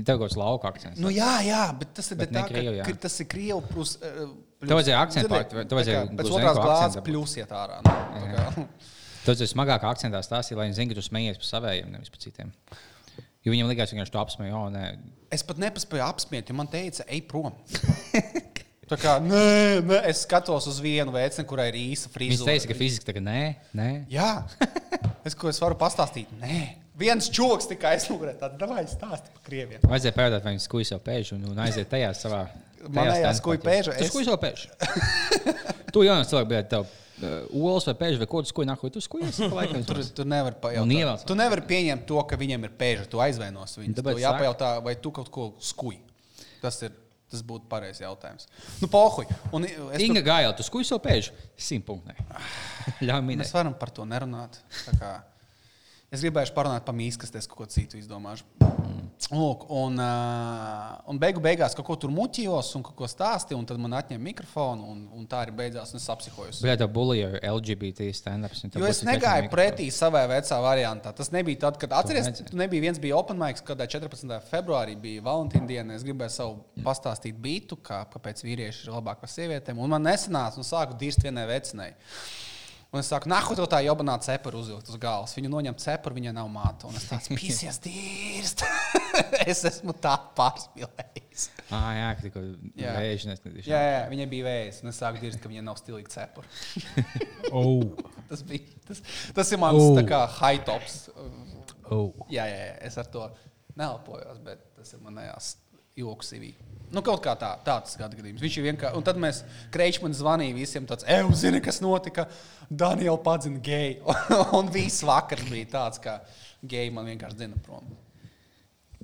tev kaut kāds lauka akcents. Nu, jā, jā, bet tas ir Bet bet ne tā, krievu, krievu, jā. ka, tas ir krievu plus. eh, plus Tev vajadzēja akcentu Zini, pārt- tev vajadzēja tā kā Pēc Gluzenko otrās glāzes akcentu dabūt. pļūsiet ārā. Nu, tā kā. Tas ir smagāk akcentā stāstīt, lai viņi zinātu, ka tu smējies par saviem, nevis par citiem. Jo viņam likās, ka viņš to apsmēja. Oh, nē, es pat nepaspēju apspriest, jo man teica, ej prom. Tā kā nē, nē, es skatos uz vienu veci, kurai ir īsa viņš frīze. teica, ka fiziski tagad nē, nē. Jā, es ko es varu pastāstīt? Nē, viens čūlis tikai aizmugurē. Tad davai stāsti par krieviem. Vajadzēja pajautāt, vai viņš skūja savu pēžu un, un aiziet tajā savā. Manējā skuju pēžu Es es- skūju savu pēžu. tu jau nāc, bet tev uh, olas vai pēžu vai ko tu skūji nākot, tu skūji savu laiku. Tur, tu nevari Un ievelc. pajautāt. Tu nevari pieņemt to, ka viņiem ir pēža. Tu aizvainos viņus. Tāpēc Tāpēc tev jāpajautā, vai tu kaut ko skuji. Tas ir. Tas būtu pareizs jautājums. Nu, pohuj. Un i- es Ah. Inga Gājā, tu skūji savu pēžu. Simtpunktē. Ļauj Tur, minēt. mēs varam par to nerunāt. Tā Kā, es gribēju parunāt par mīkstēs, ko citu izdomāšu. Lūk, un, uh, un beigu beigās kaut ko tur muļķījos un kaut ko stāstīju, un tad man atņēma mikrofonu, un, un tā arī beidzās. un Es apsihojos. Bet tā bulīja LGBT stand-ups. un tev Jo es būtu negāju vienkārši pretī savai vecā variantā. Tas nebija tad, kad atceries, nedzēri. tu nebija viens bija open mic, kad 14. februārī bija Valentīna diena. Es gribēju savu pastāstīt bītu, kā, kāpēc vīrieši ir labāk par sievietēm. Un man nesanāca, un sāku dirzt vienai vecinai. Un es saku, nahu, to tā jobanā cepura uzvilkt uz galvas. Viņu noņem cepura, viņa nav māte. Un es tāds pīsies dirst. es esmu tā pārspīlējis. Ah, jā, ka tikko Jā. vēžnes. Jā, jā, viņai bija vējs, un es sāku dirzt, ka viņa nav stilīga cepura. Oh, tas, bija, tas, tas ir mans Oh. tā kā high tops. oh. Jā, jā, jā, es ar to neelpojos, bet tas ir manējās joks. CV. Nu, kaut kā tā, tāds gadījums. Viņš ir vienkārši. Un tad mēs Kreičmanam zvanījām visiem, tāds, ej, zini, kas notika. Daniela padzina geju. un viss vakars bija tāds, ka geji man vienkārši dzina prom.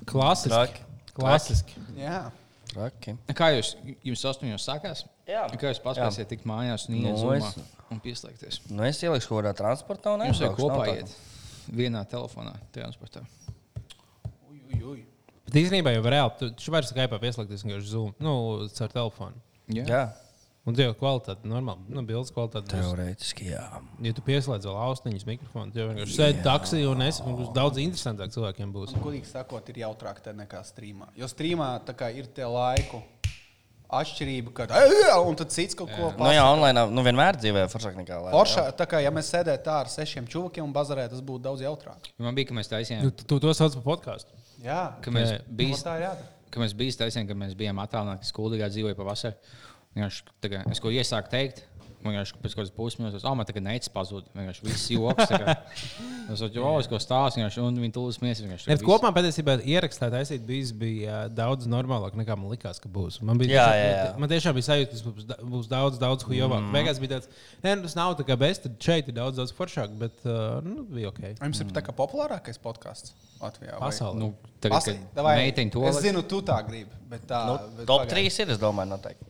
Klasiski. Traki. Klasiski. Jā, Traki. Kā jūs, jums astoņos sākās? Jā. Kā jūs paspēsiet tikt mājās un iet Nu, zumā es- un pieslēgties? Nu, es ielieku kaut kādā transportā Nu, un Jums aizbraukšu, vajag kopā nav tā. iet vienā telefonā, transportā. uj, uj, uj. Bet Bet īstenībā jau reāli, tu- tu vairs kā jau pieslēgties vienkārši Zoom, nu, caur telefonu. Jā, Un tā jau kvalitāte, normāli, nu, bildes kvalitāte. būs. teorētiski jā. Nu, Ja tu pieslēdz vēl austiņas mikrofonu, tad jau vienkārši sēdi taksī un es un būs daudz interesantāk cilvēkiem būs. Un, Godīgi sakot, ir jautrāk te nekā strīmā. Jo strīmā tā kā ir tie laiku atšķirība, kad "Ej, un tad cits kaut ko Nu, jā, online nu, vienmēr dzīvē ir foršāk nekā lai. Forša, tā kā ja mēs sēdētu tā ar sešiem čūkiem un bazarē, tas būtu daudz jautrāk. Man bija, ka mēs taisījām, Nu, Tu, tu to sauc par podkāstu. Jā, ka mēs Jā. Nu, bijām tā ir jādara. ka mēs bijām taisnīgi, ka mēs bijām attālināti skolā, dzīvoja pavasarī. Vienkārši, tā kā Es ko iesāku teikt, vienkārši pēc kādas pusminūtes, ah, man tagad neicis pazudīt. Vienkārši viss joks. tā kā. Es saprotu, jau es ko stāstu, vienkārši, un viņi tulus mēs vienkārši. Ne, bet kopumā patiesībā ierakstā taisīt bijis bija ā, daudz normālāk nekā man likās, ka būs. Man, bija, Jā, tiešām, jā, Mhm. jā. man tiešām bija sajūta, ka tas būs da- būs daudz, daudz hujovāk. Mm. Beigās bija tāds, nē, nu, tas nav tā kā best, tad šeit ir daudz, daudz foršāk, bet ā, nu, bija ok. Jums ir tā kā populārākais podkāsts Latvijā. vai? Pasaulē. Nu, Nu, tagad, Pasa- kad davai, meiteņu to Es zinu, tu tā gribi. Bet tā, Nu, bet top pagaidi. 3 ir, es domāju, noteikti.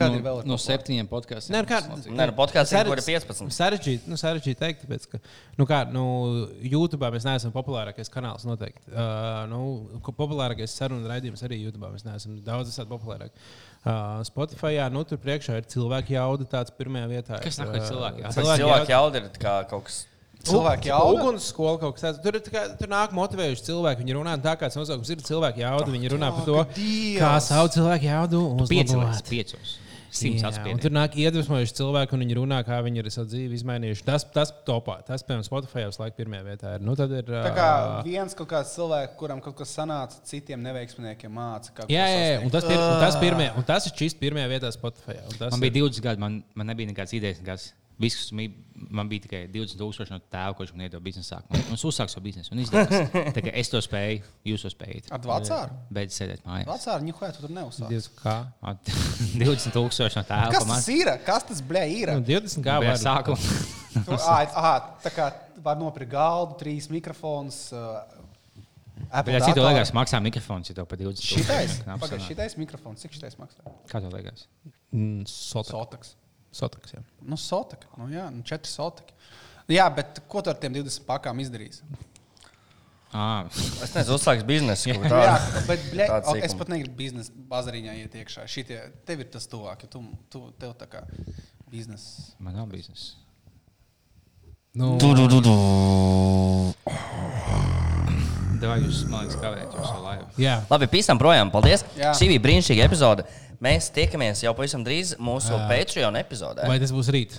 Kādi nu, ir vēl ir no populāri? septiņiem podkāstiem. Nē, nu kā- Nē, nu, podkāsts ir, kur ir 15. Sarežģīti, nu, sarežģīti teikt, tāpēc, ka, nu, kā, nu, YouTube mēs neesam populārākais kanāls noteikti. Uh, nu, ko populārākais sarunu raidījums arī YouTube. Mēs neesam daudz esat populārāki. Uh, Spotify, nu, tur priekšā ir cilvēku jauda tāds pirmajā vietā. Kas nāk ar cilvēku jaudu? Cilvēki, cilvēki jau ir kā kaut kas. Cilvēki Cilvēki jau jauda? uguns skola kaut kas tāds. Tur, ir tā kā, tur nāk motivējuši cilvēki. Viņi runā tā, kāds nosaukums ir cilvēku jauda. Viņi runā par to, Dievs! kā savu cilvēku jaudu Piecos, uzlabot. piecos. Simts Jā, un atspēlēs. Tur nāk iedvesmojuši cilvēki, un viņi runā, kā viņi ir savu dzīvi izmainījuši. Tas, tas topā, tas, piemēram, Spotify jau laikam pirmajā vietā ir. Nu, tad ir Tā kā viens kaut kāds cilvēks, kuram kaut kas sanāca, citiem neveiksmīgiem māca. Jā, kā ko jā, jā, sasniegt. un tas, pir, un, tas Ah. pirmajā, un tas ir šis pirmajā vietā Spotify. Man bija 20 gadi, man, man nebija nekādas idejas. Nekāds. Viss, man bija tikai 20,000 no tēva, kurš man iedod biznesā. Man un es uzsāku savu biznesu un izdevās. Tā kā Es to spēju, jūs to spējat. Ar vecāru? Beidz sēdēt mājās. Vecāru ņuhē, tu tur neuzsāc. 20. At- 20,000 no tā Kas tas ir? Kas tas blē ir? Nu, 20 kā Bija var. sākuma. Tu- ā, ā, Tā kā var nopirkt galdu, trīs mikrofons. ā, Apple Bet citā datoru. laikā maksā mikrofons, ja to pa 20. Šitais, Nav pagaid, sanāk. šitais mikrofons, cik šitais maksā? Kā tev liekas? Mm, Sotak. Sotaks. Sotaks, jā. Nu, sotaki. Nu, jā, nu, četri sotaki. Jā, bet ko tu ar tiem 20 pakām izdarīsi? Ah, Es nezinu, uzsāks biznesu. kaut kā Jā, tādu. bet blē, tāds o, es sīkums. pat negribu biznesa bazariņā iet iekšā. Šitie, tev ir tas tuvāk, jo tu, tu tev tā kā biznesa. man nav biznesa. Nu, Du, du, du, du. Davai jūs, man liekas, kavējat jūs savu laivu. jā. Labi, pīstam projām. Paldies. Jā. Jā. Šī bija brīnišķīga epizode. Mēs tiekamies jau pavisam drīz mūsu jā. Patreon epizodē. Vai... Vai tas būs rīt?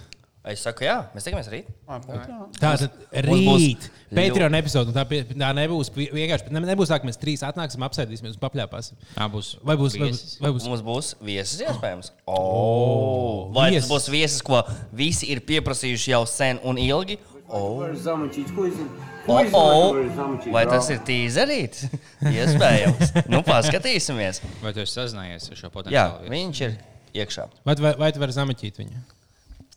Es saku, jā, mēs tiekamies rīt. Tā tad mums būs rīt. Patreon epizode. un Tā, pie- tā nebūs vi- vienkārši. ne- Nebūs tā, ka mēs trīs atnāksim, apsēdīsimies un papļāpāsim. Tā būs. Vai būs? Vai būs? viesis. Vai būs? Mums būs viesis, iespējams. Oh, Vai tas viesis. būs viesis, ko visi ir pieprasījuši jau sen un ilgi? Oh. замучить Кузин. Oh, Кузина, oh. говорю, замучить. Vai Браво. tas ir tīzerīts? Iespējams. Nu, paskatīsimies. Vai tu esi sazinājies ar šo Jā, potenciālu? viesu? viņš ir iekšā. Vai, tu- vai, vai tu vari zameķīt viņu?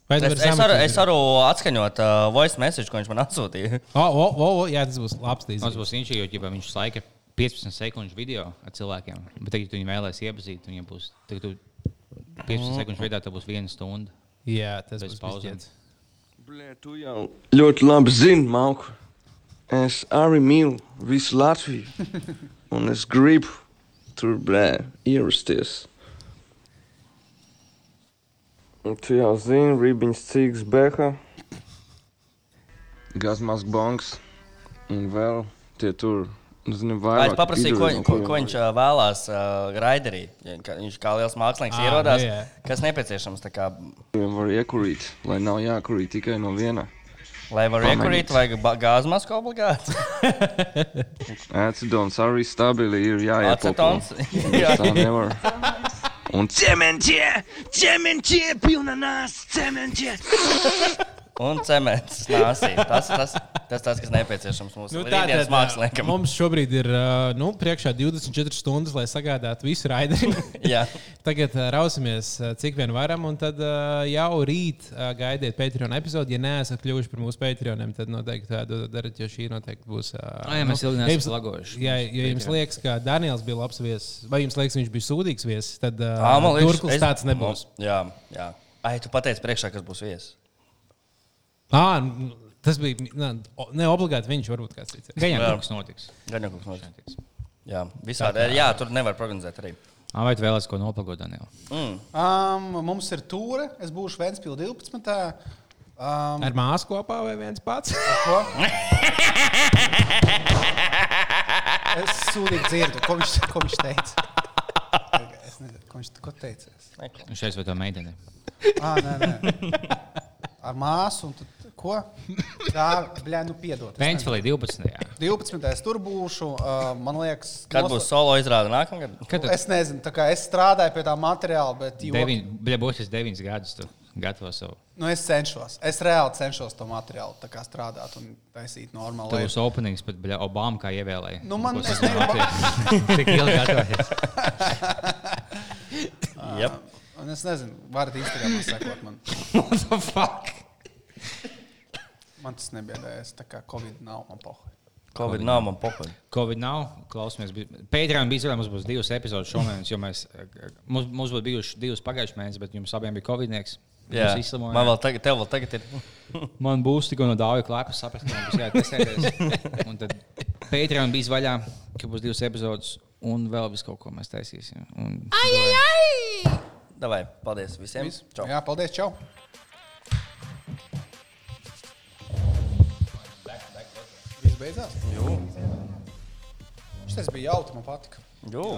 Vai tu Es, vari es, varu, zameķīt es varu atskaņot uh, voice message, ko viņš man atsūtīja. viņu? O, o, o, o, jā, tas būs labs Mums tīzis. būs viņš, jo ģipā, viņš laika 15 sekundžu video ar cilvēkiem. Bet tagad, ja tu viņu vēlēs iepazīt, viņam būs tagad tu 15 sekundžu veidā, tā būs viena stunda. Jā, tas Bez būs pauzēm. pauzēts. Blē, tu jau ļoti labi zini, Mauku. Es arī mīlu visu Latviju. Un es gribu tur, blē, ierasties. Un tu jau zini, ribiņš cīgs beha. Gazmas bongs. Un vēl tie tur, nu, zini, Vai vairāk. es paprasīju, ko, idoli, no ko, kuriem ko viņš ā, vēlās uh, raiderī. Ja kā- Viņš kā liels mākslinieks Ā, ierodās, nu jā. kas nepieciešams, tā kā, Viņam var iekurīt, lai nav jākurīt tikai no viena. lai varētu Pamanīt. iekurīt, vajag ba- gāzes masku obligāti. Acidons arī stabili ir jāiepopulē. Acetons. Jā. Tā nevar. Un cementie! Cementie pilna nas, cementie! Un cements nāsī. Tas ir tas, tas, tas, kas nepieciešams mūsu nu, rītdienas māksliniekam. mums šobrīd ir ā, nu, priekšā 24 stundas, lai sagādātu visu raidījumu. Jā. Tagad ā, rausimies, ā, cik vien varam, un tad ā, jau rīt ā, gaidiet Patreon epizodi. Ja neesat kļuvuši par mūsu Patreoniem, tad noteikti ā, do- dariet, jo šī noteikti būs. ā, Ai, jā, mēs nu, ilgi ja neesam jums- plagojuši Jā, mūsu ja jums Patreon. liekas, ka Daniels bija labs viesis, vai jums liekas, viņš bija sūdīgs viesis, tad Ā, man liekas, turklis es- tāds nebūs. Nu, Jā, jā. Ai, tu pateici priekšā, kas būs viesis. Ā, nu, Tas bija nā, o- ne obligāti viņš, varbūt kāds cits. Gaidām, Jā. kas notiks. Gan jau kaut kas notic. notiks. Jā, visādi. Jā, tur nevar prognozēt arī. Ā, Vai tu vēlēsies ko nopagot, Daniel? Mm. Um, mums ir tūre. Es būšu Vēnspils 12. Um, Ar māsu kopā vai viens pats? ko? es sūdīgi dzirdu, ko viņš, ko viņš teica. Es nezinu, ko viņš ko teica. Nu, Šeit vai to meiteni? Ah, nē, nē. Ar māsu un tad, ko? Tā, blē, nu piedod. Es Vēnsfelī 12. jā. nezinu. 12. tur būšu. Uh, man liekas, Kad nosla- būs solo izrāde nākamgad? Kad tu Es nezinu, tā kā es strādāju pie tā materiāla, bet joki- deviņ- bļa, būsi tas 9 gadus, tu gatavo savu. nu, es cenšos. Es reāli cenšos to materiālu tā kā strādāt un taisīt normāli. Tur būs openings, bet bļa, Obama kā ievēlēja. Nu, man- Ko es sasniedz negribu- Latvija? Cik ilgi gatavojies? Jā. Un es nezinu, varat Instagramā sekot man. What the fuck? Man tas nebiedējas, tā kā Covid nav man poha. Covid nav man pokoja. Covid nav. Klausamies, Pētējām bija izvēle. Mums būs divas epizodes šomēnes, jo mēs, eh, mums, mums būtu bijušas divas pagājušajā mēnesī, bet jums abiem bija Covid-nieks. Jā, Jūs izslimojāt. man vēl tagad, tev vēl tagad ir. Man būs tikko no dāvja klāpas, saprast, ka man būs jāatcerās. Un tad Patreon bija vaļā, ka būs divas epizodes, un vēl vis kaut ko mēs taisīsim. Un... Davai, paldies visiem. Čau. Jā, paldies, čau! Viss beidzās? Jā. Šis bija jautri, man patika. Jū.